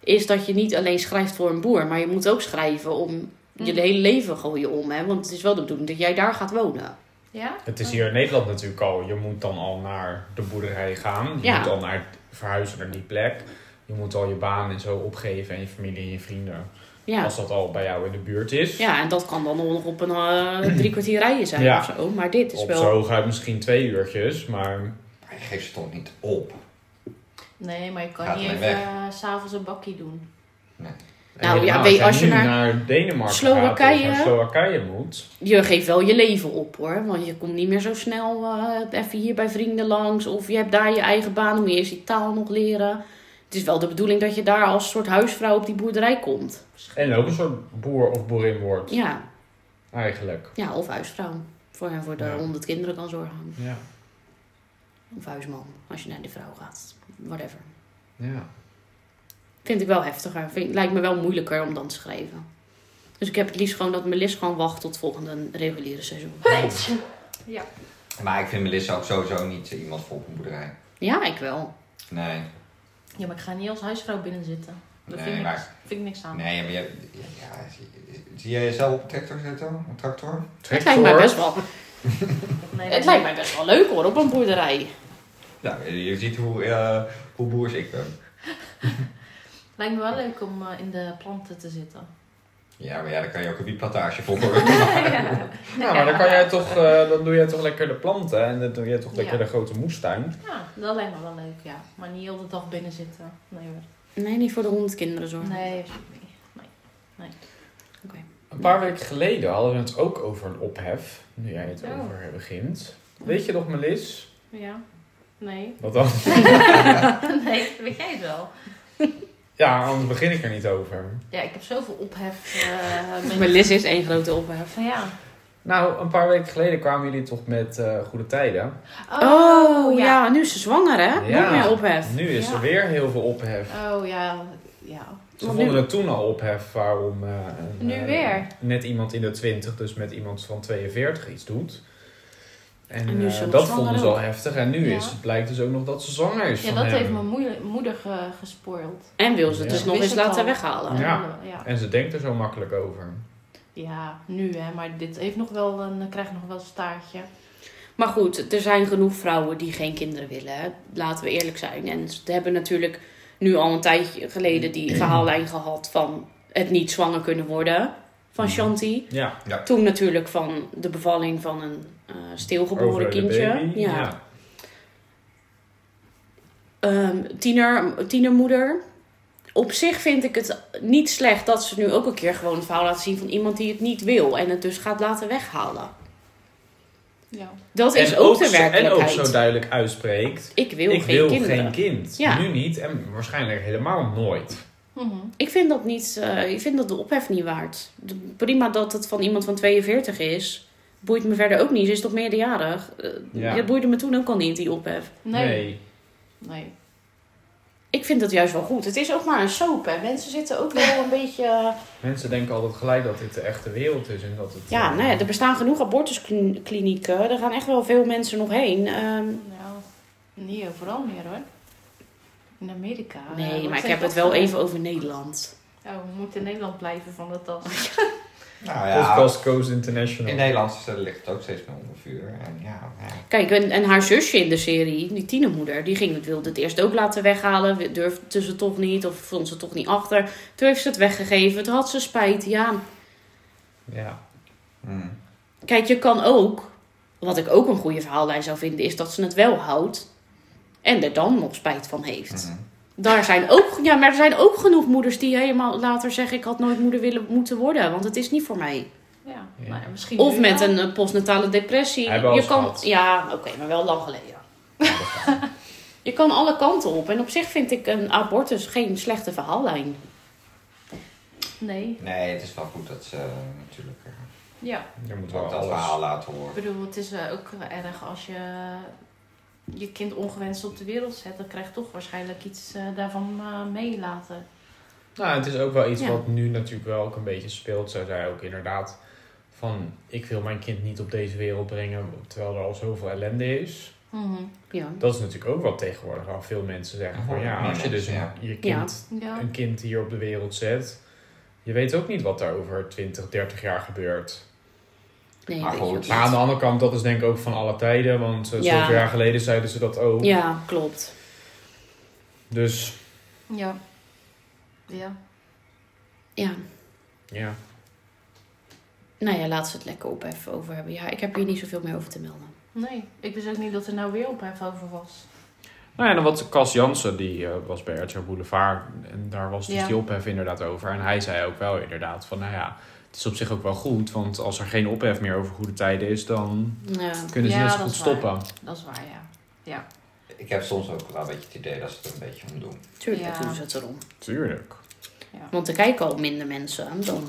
is dat je niet alleen schrijft voor een boer, maar je moet ook schrijven om je
Hmm.
Mm.
hele leven gooien om. Hè? Want het is wel de bedoeling dat jij daar gaat wonen.
Ja?
Het is hier in Nederland natuurlijk al. Je moet dan al naar de boerderij gaan. Je
Ja.
moet al naar verhuizen naar die plek. Je moet al je baan en zo opgeven en je familie en je vrienden.
Ja.
Als dat al bij jou in de buurt is.
ja, en dat kan dan nog op een eh, drie kwartier rijden zijn
Ja.
of zo. Maar dit is
Op
wel...
zo hooguit misschien twee uurtjes, maar
Hij geeft ze toch niet op?
Nee, maar je kan
Gaat
niet
maar
even
weg.
eh, s s'avonds een bakkie doen.
Nou,
Helemaal,
ja, weet-
jij
als je
nu
naar
Denemarken
Slowakije-
gaat of naar Slowakije moet.
Je geeft wel je leven op hoor. Want je komt niet meer zo snel eh, even hier bij vrienden langs. Of je hebt daar je eigen baan. Dan moet je eerst die taal nog leren. Het is wel de bedoeling dat je daar als soort huisvrouw op die boerderij komt.
En ook een soort boer of boerin wordt,
Ja,
eigenlijk.
Ja, of huisvrouw. Voor hem voor de
Ja.
honderd kinderen kan zorgen.
Ja.
Of huisman, als je naar de vrouw gaat. Whatever.
ja.
Vind ik wel heftiger. Vind, lijkt me wel moeilijker om dan te schrijven. Dus ik heb het liefst gewoon dat Melis gewoon wacht tot volgende reguliere seizoen.
Ja.
Maar ik vind Melissa ook sowieso niet eh, iemand voor op een boerderij.
Ja, ik wel.
Nee.
Ja, maar ik ga niet als huisvrouw binnen zitten. Daar
Nee,
vind, ik
maar-
niks, vind ik niks aan.
Nee, maar je, ja, zie- zie jij jezelf op een tractor zitten? Een tractor?
Het lijkt mij best wel,
Nee, nee,
het lijkt mij best wel leuk hoor, op een boerderij.
Nou, je ziet hoe, eh, hoe boers ik ben.
lijkt me wel leuk om eh, in de planten te zitten.
Ja, maar ja, daar kan je ook een wietplantage voor maken.
Nou, maar dan, kan jij toch, eh, dan doe jij toch lekker de planten en dan doe jij toch lekker
Ja.
de grote moestuin.
Ja, dat lijkt me wel leuk, ja. Maar niet heel de dag binnen zitten. Nee hoor.
Nee, niet voor de honderd kinderen zorgen.
Nee, alsjeblieft niet. nee.
Een paar weken geleden hadden we het ook over een ophef, nu jij het
Oh.
over begint. Weet je nog, Melis?
Ja. Nee.
Wat dan?
nee, weet jij het wel?
Ja, anders begin ik er niet over.
Ja, ik heb zoveel ophef. eh, met-
Maar Liz is één grote ophef.
Van ja.
Nou, een paar weken geleden kwamen jullie toch met eh, goede tijden.
Oh, ja. nu is ze zwanger hè?
Ja.
Nog meer ophef.
Nu is
Ja.
er weer heel veel ophef.
Oh ja. Ja.
Ze
Want
vonden
nu-
het toen al ophef waarom eh, een,
Nu
eh,
weer.
net iemand in de 20, dus met iemand van 42 iets doet. En,
En nu is ze
eh,
nog
dat
zwanger
vonden ze al
ook.
heftig. En nu
Ja.
is, blijkt dus ook nog dat ze zwanger is.
Ja,
van
dat
hem.
heeft mijn moeie- moeder ge- gespoord.
En wil ze het
Ja.
dus nog
Wist
eens
het
laten
al.
weghalen.
Ja.
ja.
En ze denkt er zo makkelijk over.
Ja, nu hè. Maar dit heeft nog wel een, krijgt nog wel een staartje.
Maar goed, er zijn genoeg vrouwen die geen kinderen willen. hè. Laten we eerlijk zijn. En ze hebben natuurlijk nu al een tijdje geleden die verhaallijn gehad van het niet zwanger kunnen worden van Shanti.
Ja,
Toen natuurlijk van de bevalling van een eh, stilgeboren
over de
kindje.
baby.
Ja. Ehm, tiener, tienermoeder. Op zich vind ik het niet slecht dat ze nu ook een keer gewoon het verhaal laten zien van iemand die het niet wil en het dus gaat laten weghalen.
Ja.
Dat is
En,
ook,
ook
de
zo, en
werkelijkheid.
ook zo duidelijk uitspreekt.
ik wil
ik
geen
wil
kinderen.
geen kind.
Ja.
Nu niet en waarschijnlijk helemaal nooit.
Mhm.
Ik vind dat niet, eh, ik vind dat de ophef niet waard. De- prima dat het van iemand van 42 is. Boeit me verder ook niet. Ze is toch meerderjarig? Eh,
Ja.
Dat boeide me toen ook al niet, die ophef.
Nee. Nee. nee.
Ik vind dat juist wel goed. Het is ook maar een soap, hè. Mensen zitten ook wel een beetje... eh,
Mensen denken altijd gelijk dat dit de echte wereld is. En dat het,
Ja,
eh,
nou ja, er bestaan genoeg abortusklinieken. Er gaan echt wel veel mensen nog heen. Ehm,
Nou, niet overal meer hoor. In Amerika. eh,
nee,
wordt
maar ik
steeds
heb het wel
lastiger.
even over Nederland.
Ja, we moeten in Nederland blijven van de tas.
nou ja,
Podcast Coast International.
in Nederland eh, ligt het ook steeds meer onder vuur. En ja, ja.
Kijk, en, en haar zusje in de serie, die tienermoeder, die ging het, wilde het eerst ook laten weghalen. Durfde ze toch niet, of vond ze toch niet achter. Toen heeft ze het weggegeven, toen had ze spijt. Ja,
Ja.
Hm.
kijk, je kan ook, wat ik ook een goede verhaallijn zou vinden, is dat ze het wel houdt. En er dan nog spijt van heeft.
Mhm.
Daar zijn ook, ja, maar er zijn ook genoeg moeders die helemaal later zeggen: Ik had nooit moeder willen moeten worden, want het is niet voor mij.
Ja,
Ja.
Nou, ja, misschien
Of
nu
met
wel.
een eh, postnatale depressie.
Hebben we al
je
eens
kan,
gehad.
ja, oké, maar wel lang geleden. je kan alle kanten op. En op zich vind ik een abortus geen slechte verhaallijn.
Nee,
Nee, het is wel goed dat ze eh, natuurlijk eh,
ja.
Je moet wel
ook dat
alles.
verhaal laten
Ik
horen.
bedoel, het is eh, ook erg als je eh, je kind ongewenst op de wereld zet. Dan krijgt toch waarschijnlijk iets eh, daarvan eh, mee later.
Nou, het is ook wel iets
Ja.
wat nu natuurlijk wel ook een beetje speelt. Zij zei ook inderdaad van... Ik wil mijn kind niet op deze wereld brengen... terwijl er al zoveel ellende is.
Mhm.
Ja.
Dat is natuurlijk ook wat tegenwoordig al veel mensen zeggen. Van,
Oh,
ja,
meer
als je dus
mensen,
een,
ja.
je kind,
Ja.
een kind hier op de wereld zet... Je weet ook niet wat er over 20, 30 jaar gebeurt.
Nee,
Maar
weet je
goed.
ook
Maar aan de
niet.
andere kant, dat is denk ik ook van alle tijden. Want eh,
Ja.
zoveel jaar geleden zeiden ze dat ook.
Ja, klopt.
Dus
Ja. Ja.
Ja.
ja,
Nou ja, laten we het lekker op even over hebben. Ja, ik heb hier niet zoveel meer over te melden.
Nee, ik wist ook niet dat er nou weer ophef over was.
Nou ja, en wat Cas Jansen, die eh, was bij RTL Boulevard. En daar was dus
Ja.
die ophef inderdaad over. En hij zei ook wel inderdaad van, nou ja, het is op zich ook wel goed. Want als er geen ophef meer over goede tijden is, dan
Ja.
kunnen ze
Ja,
net zo
dat
goed
is waar.
stoppen.
Dat is waar, ja.
Ik heb soms ook wel een beetje het idee dat ze het een beetje om doen.
Tuurlijk
Ja.
doen ze het erom.
Tuurlijk.
Want er kijken al minder mensen dan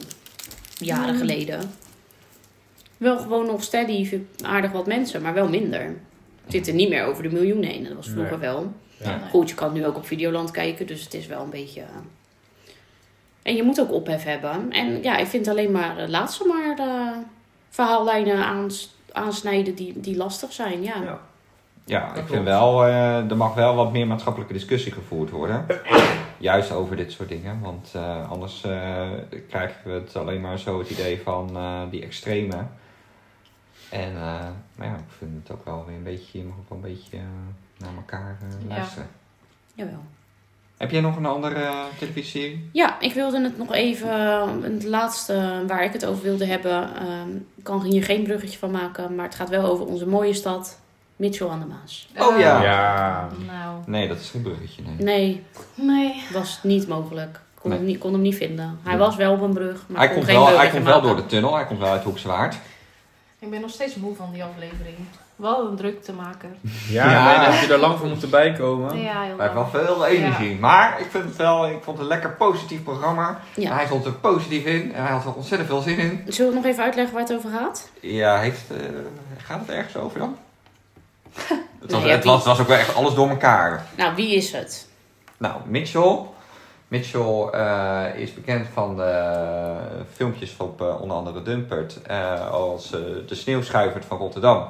jaren
Mm.
geleden. Wel gewoon nog steady, aardig wat mensen, maar wel minder. We zitten niet meer over de miljoenen heen. Dat was vroeger
Nee.
wel.
Ja.
Nee.
Goed, je kan nu ook op Videoland kijken, dus het is wel een beetje. eh, En je moet ook ophef hebben. En ja, ik vind alleen maar eh, laat ze maar eh, verhaallijnen aans- aansnijden die, die lastig zijn. Ja.
Ja.
Ja,
Dat
ik
klopt.
vind wel, eh, er mag wel wat meer maatschappelijke discussie gevoerd worden. Juist over dit soort dingen. Want eh, anders eh, krijgen we het alleen maar zo het idee van eh, die extreme. En eh, maar ja, ik vind het ook wel weer een beetje, je mag ook wel een beetje eh, naar elkaar eh,
Ja.
luisteren.
Jawel.
Heb jij nog een andere eh, televisieserie?
Ja, ik wilde het nog even, eh, het laatste waar ik het over wilde hebben, ehm, ik kan hier geen bruggetje van maken, maar het gaat wel over onze mooie stad, Mitchell aan de Maas.
Oh, ja.
Ja.
Nou,
Nee, dat is geen bruggetje, nee.
Nee,
nee.
was niet mogelijk. Kon,
Nee.
hem, niet, kon hem niet vinden. Hij
Ja.
was wel op een brug, maar
Hij
kon
komt,
geen
wel, hij
bruggetje
komt wel door
maken.
de tunnel, hij komt wel uit Hoekswaard.
Ik ben nog steeds moe van die aflevering. Wel een druk te maken.
Ja,
Ja.
daar heb je daar lang voor moeten bijkomen.
Ja, heel
Hij heeft wel
lang.
veel energie. Maar ik vind het wel, ik vond het een lekker positief programma.
Ja.
Hij stond er positief in en hij had er ontzettend veel zin in.
Zullen we nog even uitleggen waar het over gaat?
Ja, heeft, eh, gaat het ergens over dan? het, was,
Nee,
het, was, het was ook wel echt alles door elkaar.
Nou, wie is het?
Nou, Mitchell. Mitchell eh, is bekend van de filmpjes op eh, onder andere Dumpert. eh, als eh, de sneeuwschuiver van Rotterdam.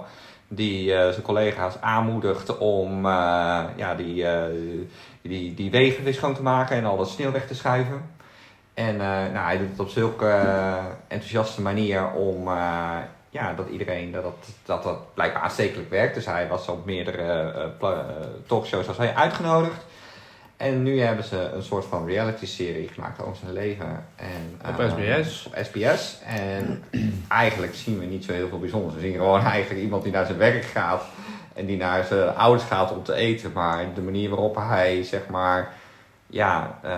Die eh, zijn collega's aanmoedigt om eh, ja, die, eh, die, die wegen weer schoon te maken en al dat sneeuw weg te schuiven. En eh, nou, hij doet het op zulke eh, enthousiaste manier om eh, ja, dat iedereen dat dat, dat dat blijkbaar aanstekelijk werkt. Dus hij was op meerdere eh, pla- eh, talkshows als hij uitgenodigd. En nu hebben ze een soort van reality serie gemaakt over zijn leven. En,
Op
eh,
SBS.
Op SBS. En eigenlijk zien we niet zo heel veel bijzonders. We zien gewoon eigenlijk iemand die naar zijn werk gaat. En die naar zijn ouders gaat om te eten. Maar de manier waarop hij zeg maar ja, eh,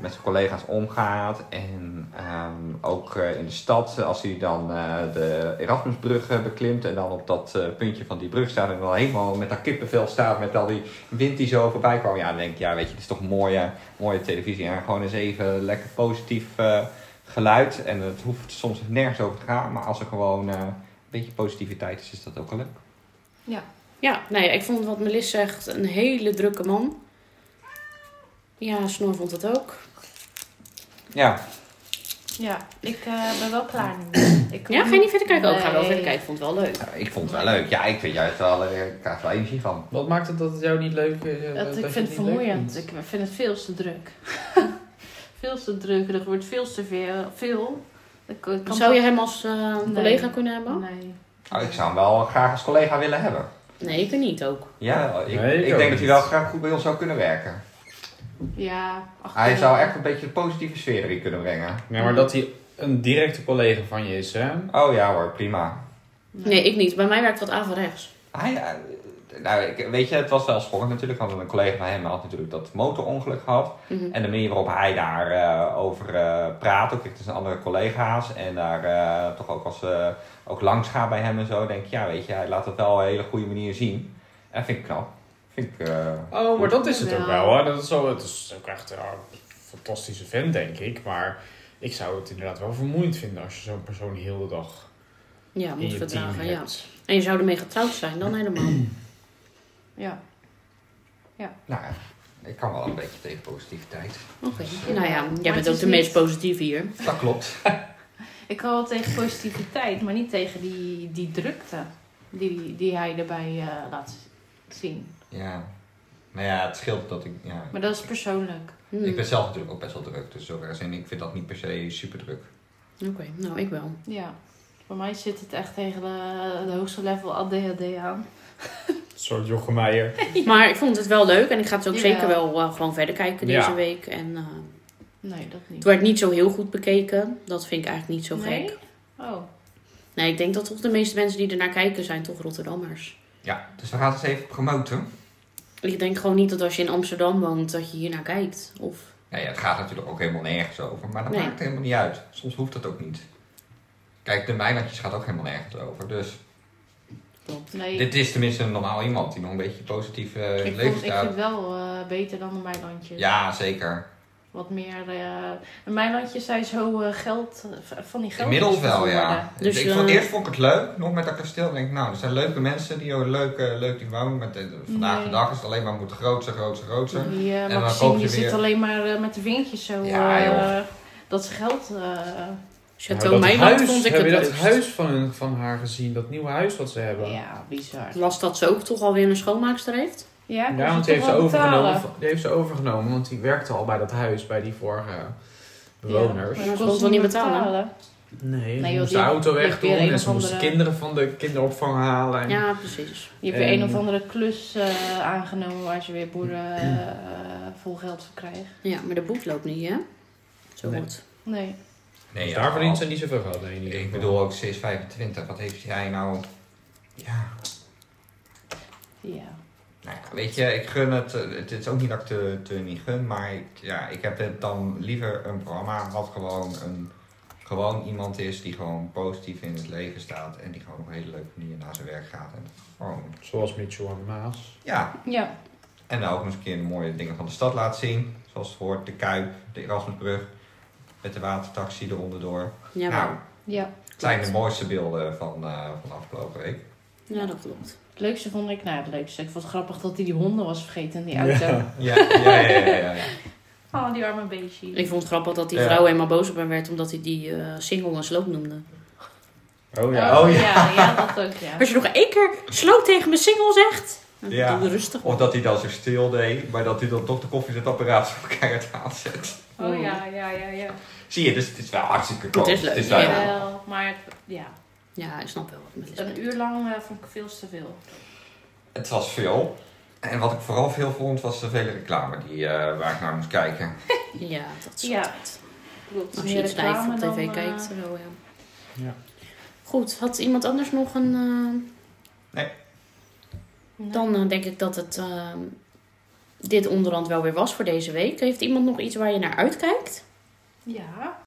met zijn collega's omgaat. En ehm, ook eh, in de stad, als hij dan eh, de Erasmusbrug eh, beklimt en dan op dat eh, puntje van die brug staat en dan helemaal met dat kippenvel staat, met al die wind die zo voorbij kwam. Ja, dan denk ik, ja, weet je, het is toch mooie, mooie televisie. En gewoon eens even lekker positief eh, geluid. En het hoeft soms nergens over te gaan, maar als er gewoon eh, een beetje positiviteit is, is dat ook wel leuk.
Ja, nee, ik vond wat Melis zegt een hele drukke man. Ja, Snor vond het ook.
Ja,
Ja, ik eh, ben wel klaar nu. Ik
Ja, ga je niet verder kijken? Ook ga wel
Nee.
verder kijken, vond het wel leuk.
ja, ik vond het wel leuk. Ja, ik vind juist wel, eh, ik krijg er wel energie van.
Wat maakt het dat het jou niet leuk is? eh,
Dat,
je
ik vind het
niet leuk
vermoeiend.
vindt?
Ik vind het veel te druk. veel te druk. Er wordt veel te veel. veel. Ik kan
Zou je hem als eh,
Nee.
collega kunnen hebben?
Nee.
Ah,
Nou, ik zou hem wel graag als collega willen hebben.
Nee, ik niet ook.
Ja, ik,
Nee, ik
ik
ook
denk dat hij
niet.
wel graag goed bij ons zou kunnen werken.
Ah,
Ja. ach,
Hij
ja.
zou echt een beetje de positieve sfeer erin kunnen brengen.
Nee, maar dat hij een directe collega van je is, hè?
Oh ja hoor, prima.
Nee, ik niet. Bij mij werkt dat averechts.
Hij, eh, nou, ik, weet je, het was wel schokkend natuurlijk, want een collega van hem had natuurlijk dat motorongeluk gehad.
Mhm.
En de manier waarop hij daarover over eh, praat, ook richting zijn andere collega's. En daar eh, toch ook als eh ook langs gaat bij hem en zo, denk ik, ja weet je, hij laat het wel op een hele goede manier zien. En vind ik knap. Vind ik, eh,
Oh, maar dat is het
Ja.
ook wel, hè? Dat is, zo, het is ook echt ja, een fantastische vent, denk ik. Maar ik zou het inderdaad wel vermoeiend vinden als je zo'n persoon heel de dag
Ja,
in
moet
je team
verdragen, ja.
hebt.
En je zou ermee getrouwd zijn, dan helemaal.
Ja.
nou ja, ik kan wel een beetje tegen positiviteit.
Oké. Nou ja, jij
Maar het
bent
is
ook de meest
niet-
positieve hier.
Dat klopt.
Ik kan wel tegen positiviteit, maar niet tegen die, die drukte die, die hij erbij eh, laat zien.
Ja. Maar ja, het scheelt dat ik... Ja.
Maar dat is persoonlijk.
Hmm.
Ik ben zelf natuurlijk ook best wel druk. Dus zo ergens in, ik vind dat niet per se super druk.
Oké, nou ik wel.
Ja. Voor mij zit het echt tegen de, de hoogste level ADHD aan.
Een soort Jochem Meijer.
Maar ik vond het wel leuk en ik ga het ook
Ja.
zeker wel eh, gewoon verder kijken deze
Ja.
week. En eh,
Nee, dat
het
niet.
werd niet zo heel goed bekeken. Dat vind ik eigenlijk niet zo
Nee?
gek.
Oh.
Nee, ik denk dat toch de meeste mensen die ernaar kijken zijn toch Rotterdammers.
Ja, dus we gaan het eens even promoten.
Ik denk gewoon niet dat als je in Amsterdam woont dat je hiernaar kijkt. Of
Nou ja, het gaat natuurlijk ook helemaal nergens over. Maar dat
Nee.
maakt helemaal niet uit. Soms hoeft dat ook niet. Kijk, de weilandjes gaat ook helemaal nergens over. Dus
klopt.
Nee.
dit is tenminste een normaal iemand die nog een beetje positief eh, in
ik,
het
vond-
leven
ik vind
staat.
het wel eh, beter dan de Meilandjes.
Ja, zeker.
Wat meer. eh de Meilandjes zijn zo eh, geld. v- Van die geld.
Inmiddels wel, ja.
Dus,
ik vond,
eh,
eerst vond ik het leuk, nog met dat kasteel. Ik denk nou, er zijn leuke mensen die ook leuk, eh, leuk die wonen. Maar de- vandaag de
Nee.
dag is het alleen maar moet grootser, grootser, grootser.
Die eh,
En dan
Maxime
koop
die
je
zit
weer-
alleen maar eh, met de vingertjes zo.
Ja,
eh,
joh.
dat ze geld. eh,
Chateau
Nou, dat
Meiland
huis,
vond ik
Heb
het
je dat
leukst.
huis van, hun- van haar gezien? Dat nieuwe huis wat ze hebben?
ja, bizar.
Ik las dat ze ook toch alweer een schoonmaakster heeft.
Ja,
Ja, want die heeft, ze overgenomen, van- die heeft ze overgenomen, want die werkte al bij dat huis, bij die vorige bewoners.
maar- kon ze wel niet betalen.
Nee,
Nee,
die
joh,
moest
die-
de auto
die
weg
heeft
doen
weer een
en
of
ze moest de
andere-
kinderen van de kinderopvang halen. En
Ja, precies.
Je hebt weer
En-
een of andere klus eh, aangenomen waar ze weer boeren eh, vol geld voor krijgen.
Ja, maar de boek loopt niet, hè? Zo
Nee.
goed.
Nee.
Nee,
daar verdient
als-
ze niet zoveel geld mee. in ieder
Ik
geval.
bedoel ook, ze is 25. Wat heeft jij nou? Ja,
Ja.
nou ja, weet je, ik gun het. eh, Het is ook niet dat ik te, te niet gun, maar ik, ja, ik heb het dan liever een programma wat gewoon, een, gewoon iemand is die gewoon positief in het leven staat en die gewoon op een hele leuke manier naar zijn werk gaat. En gewoon,
Zoals Mitchell en Maas.
ja,
Ja.
en nou ook nog eens een keer de mooie dingen van de stad laat zien. Zoals het hoort, de Kuip, de Erasmusbrug, met de watertaxi eronder door.
Ja,
nou,
Ja.
het zijn de mooiste beelden van, eh, van de afgelopen week.
ja dat klopt.
Het leukste vond ik, nou het leukste. Ik vond het grappig dat hij die honden was vergeten in die auto.
Ja, ja, ja, ja. ja, ja.
Oh, die arme beestje.
Ik vond het grappig dat die
Ja.
vrouw helemaal boos op hem werd omdat hij die eh, single een sloop noemde.
Oh
Oh, ja.
ja. ja, dat ook, ja.
Als je nog één keer sloop tegen mijn single zegt, dan
Ja.
doe rustig
Of
op.
dat hij dan zo stil deed, maar dat hij dan toch de koffiezetapparaat zo keihard aanzet.
Oh ja, ja, ja, ja.
Zie je, dus het is wel hartstikke cool.
Het is leuk,
wel-
ja.
Wel, maar het- ja,
Ja, ik snap wel wat met
een uur lang eh, vond ik veel te veel.
Het was veel. En wat ik vooral veel vond, was de vele reclame die, eh, waar ik naar moest kijken.
Ja, dat is
Ja.
altijd.
Ik bedoel, het is
Als je
meer
iets live
reclame
op tv
dan, eh,
kijkt. Wel, ja.
Ja.
Goed, had iemand anders nog een... eh,
nee.
dan eh, denk ik dat het... eh, dit onderhand wel weer was voor deze week. Heeft iemand nog iets waar je naar uitkijkt?
Ja.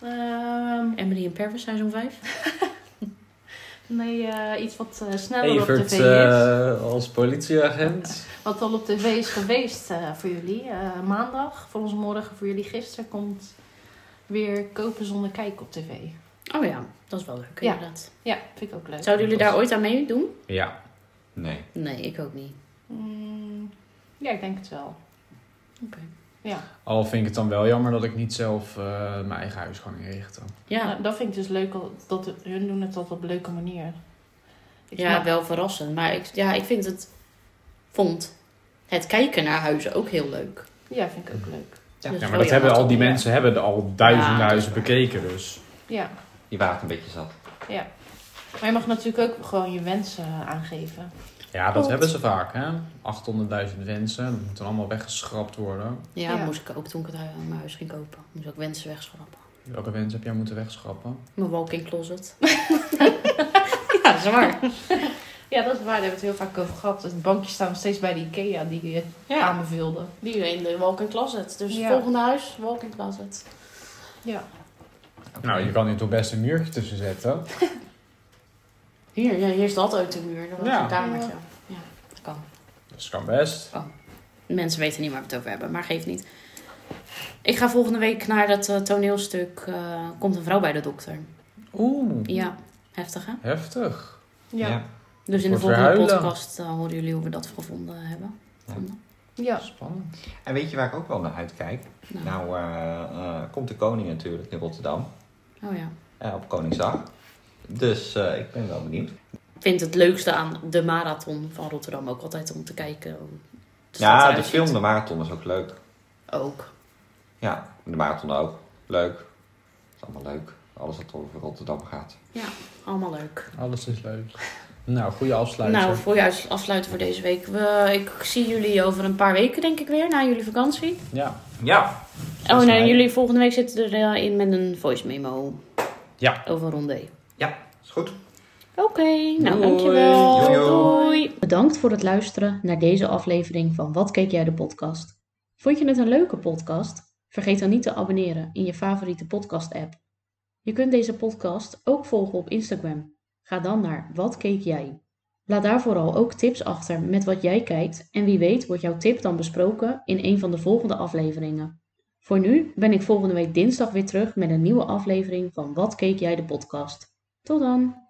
Ehm,
Emily en Pervis zijn zo'n vijf.
nee, eh, iets wat eh, sneller op
Evert
tv is.
eh, als politieagent.
Wat al op tv is geweest eh, voor jullie. Eh, maandag, voor ons morgen, voor jullie gisteren, komt weer Kopen zonder kijken op tv.
Oh ja, dat is wel leuk
Ja.
inderdaad.
Ja, vind ik ook leuk.
Zouden jullie daar ooit aan meedoen?
Ja.
Nee.
Nee, ik ook niet.
Mm, ja, ik denk het wel.
Oké.
Ja.
Al vind ik het dan wel jammer dat ik niet zelf eh, mijn eigen huis kan inrichten.
Ja,
Nou, dat vind ik dus leuk, al- dat het- hun doen het altijd op een leuke manier. Ik
ja
smaak-
wel verrassend. Maar ik, ja, ik vind het... Vond het kijken naar huizen ook heel leuk. Dus- Oh
ja, vind ik ook leuk.
Ja,
Ja, maar dat hebben al die mensen hebben er al duizenden
Ja,
huizen bekeken, dus.
Ja.
Die waard een beetje zat.
Maar je mag natuurlijk ook gewoon je wensen eh, aangeven.
Ja, dat
Klopt.
hebben ze vaak, hè. 800.000 wensen, dat moet dan allemaal weggeschrapt worden.
Ja,
Ja.
moest ik ook toen ik het hui- mijn huis ging kopen. Moest ik ook wensen wegschrappen.
Welke wens heb jij moeten wegschrappen?
Mijn walk-in closet. ja, dat is waar.
Ja, dat is waar. Daar hebben we het heel vaak over gehad. Het bankje staat nog steeds bij de Ikea die eh, je aanbeveelde.
Die in de walk-in closet. Dus
Ja.
volgende huis, walk-in closet.
Ja.
Nou, je kan hier toch best een muurtje tussen zetten.
Hier, ja, hier staat ook de muur. Dat was
Ja.
een kamertje. Ja, dat kan.
Dat kan best.
Mensen weten niet waar we het over hebben, maar geeft niet. Ik ga volgende week naar dat eh, toneelstuk eh, Komt een vrouw bij de dokter.
Oeh,
Ja, heftig hè?
heftig.
Ja. ja.
Dus in de volgende
Wordt weer huilen.
podcast eh, horen jullie hoe we dat gevonden hebben.
Ja.
Vonden.
Spannend.
En weet je waar ik ook wel naar uitkijk?
Nou.
Nou, eh, eh, komt de koning natuurlijk in Rotterdam.
Oh ja.
eh, op Koningsdag. Dus eh, ik ben wel benieuwd.
Ik vind het leukste aan de marathon van Rotterdam ook altijd om te kijken. hoe de stad
ja,
eruit
de
ziet.
film, de marathon is ook leuk.
Ook.
Ja, de marathon ook. Leuk. Het is allemaal leuk. Alles wat over Rotterdam gaat.
Allemaal leuk.
Alles is leuk. Nou, goede afsluiting.
Nou, voor je uit- afsluiten voor deze week. We, ik zie jullie over een paar weken denk ik weer, na jullie vakantie.
Ja.
Ja.
Oh,
Volgens
en
mij.
jullie volgende week zitten erin met een voice memo.
Ja.
Over Rondé.
Is goed.
Oké, nou
Doei.
dankjewel.
Doei, joh.
Doei.
Bedankt voor het luisteren naar deze aflevering van Wat keek jij de podcast? Vond je het een leuke podcast? Vergeet dan niet te abonneren in je favoriete podcast app. Je kunt deze podcast ook volgen op Instagram. Ga dan naar Wat keek jij? Laat daar vooral ook tips achter met wat jij kijkt en wie weet wordt jouw tip dan besproken in een van de volgende afleveringen. Voor nu ben ik volgende week dinsdag weer terug met een nieuwe aflevering van Wat keek jij de podcast. Tot dan!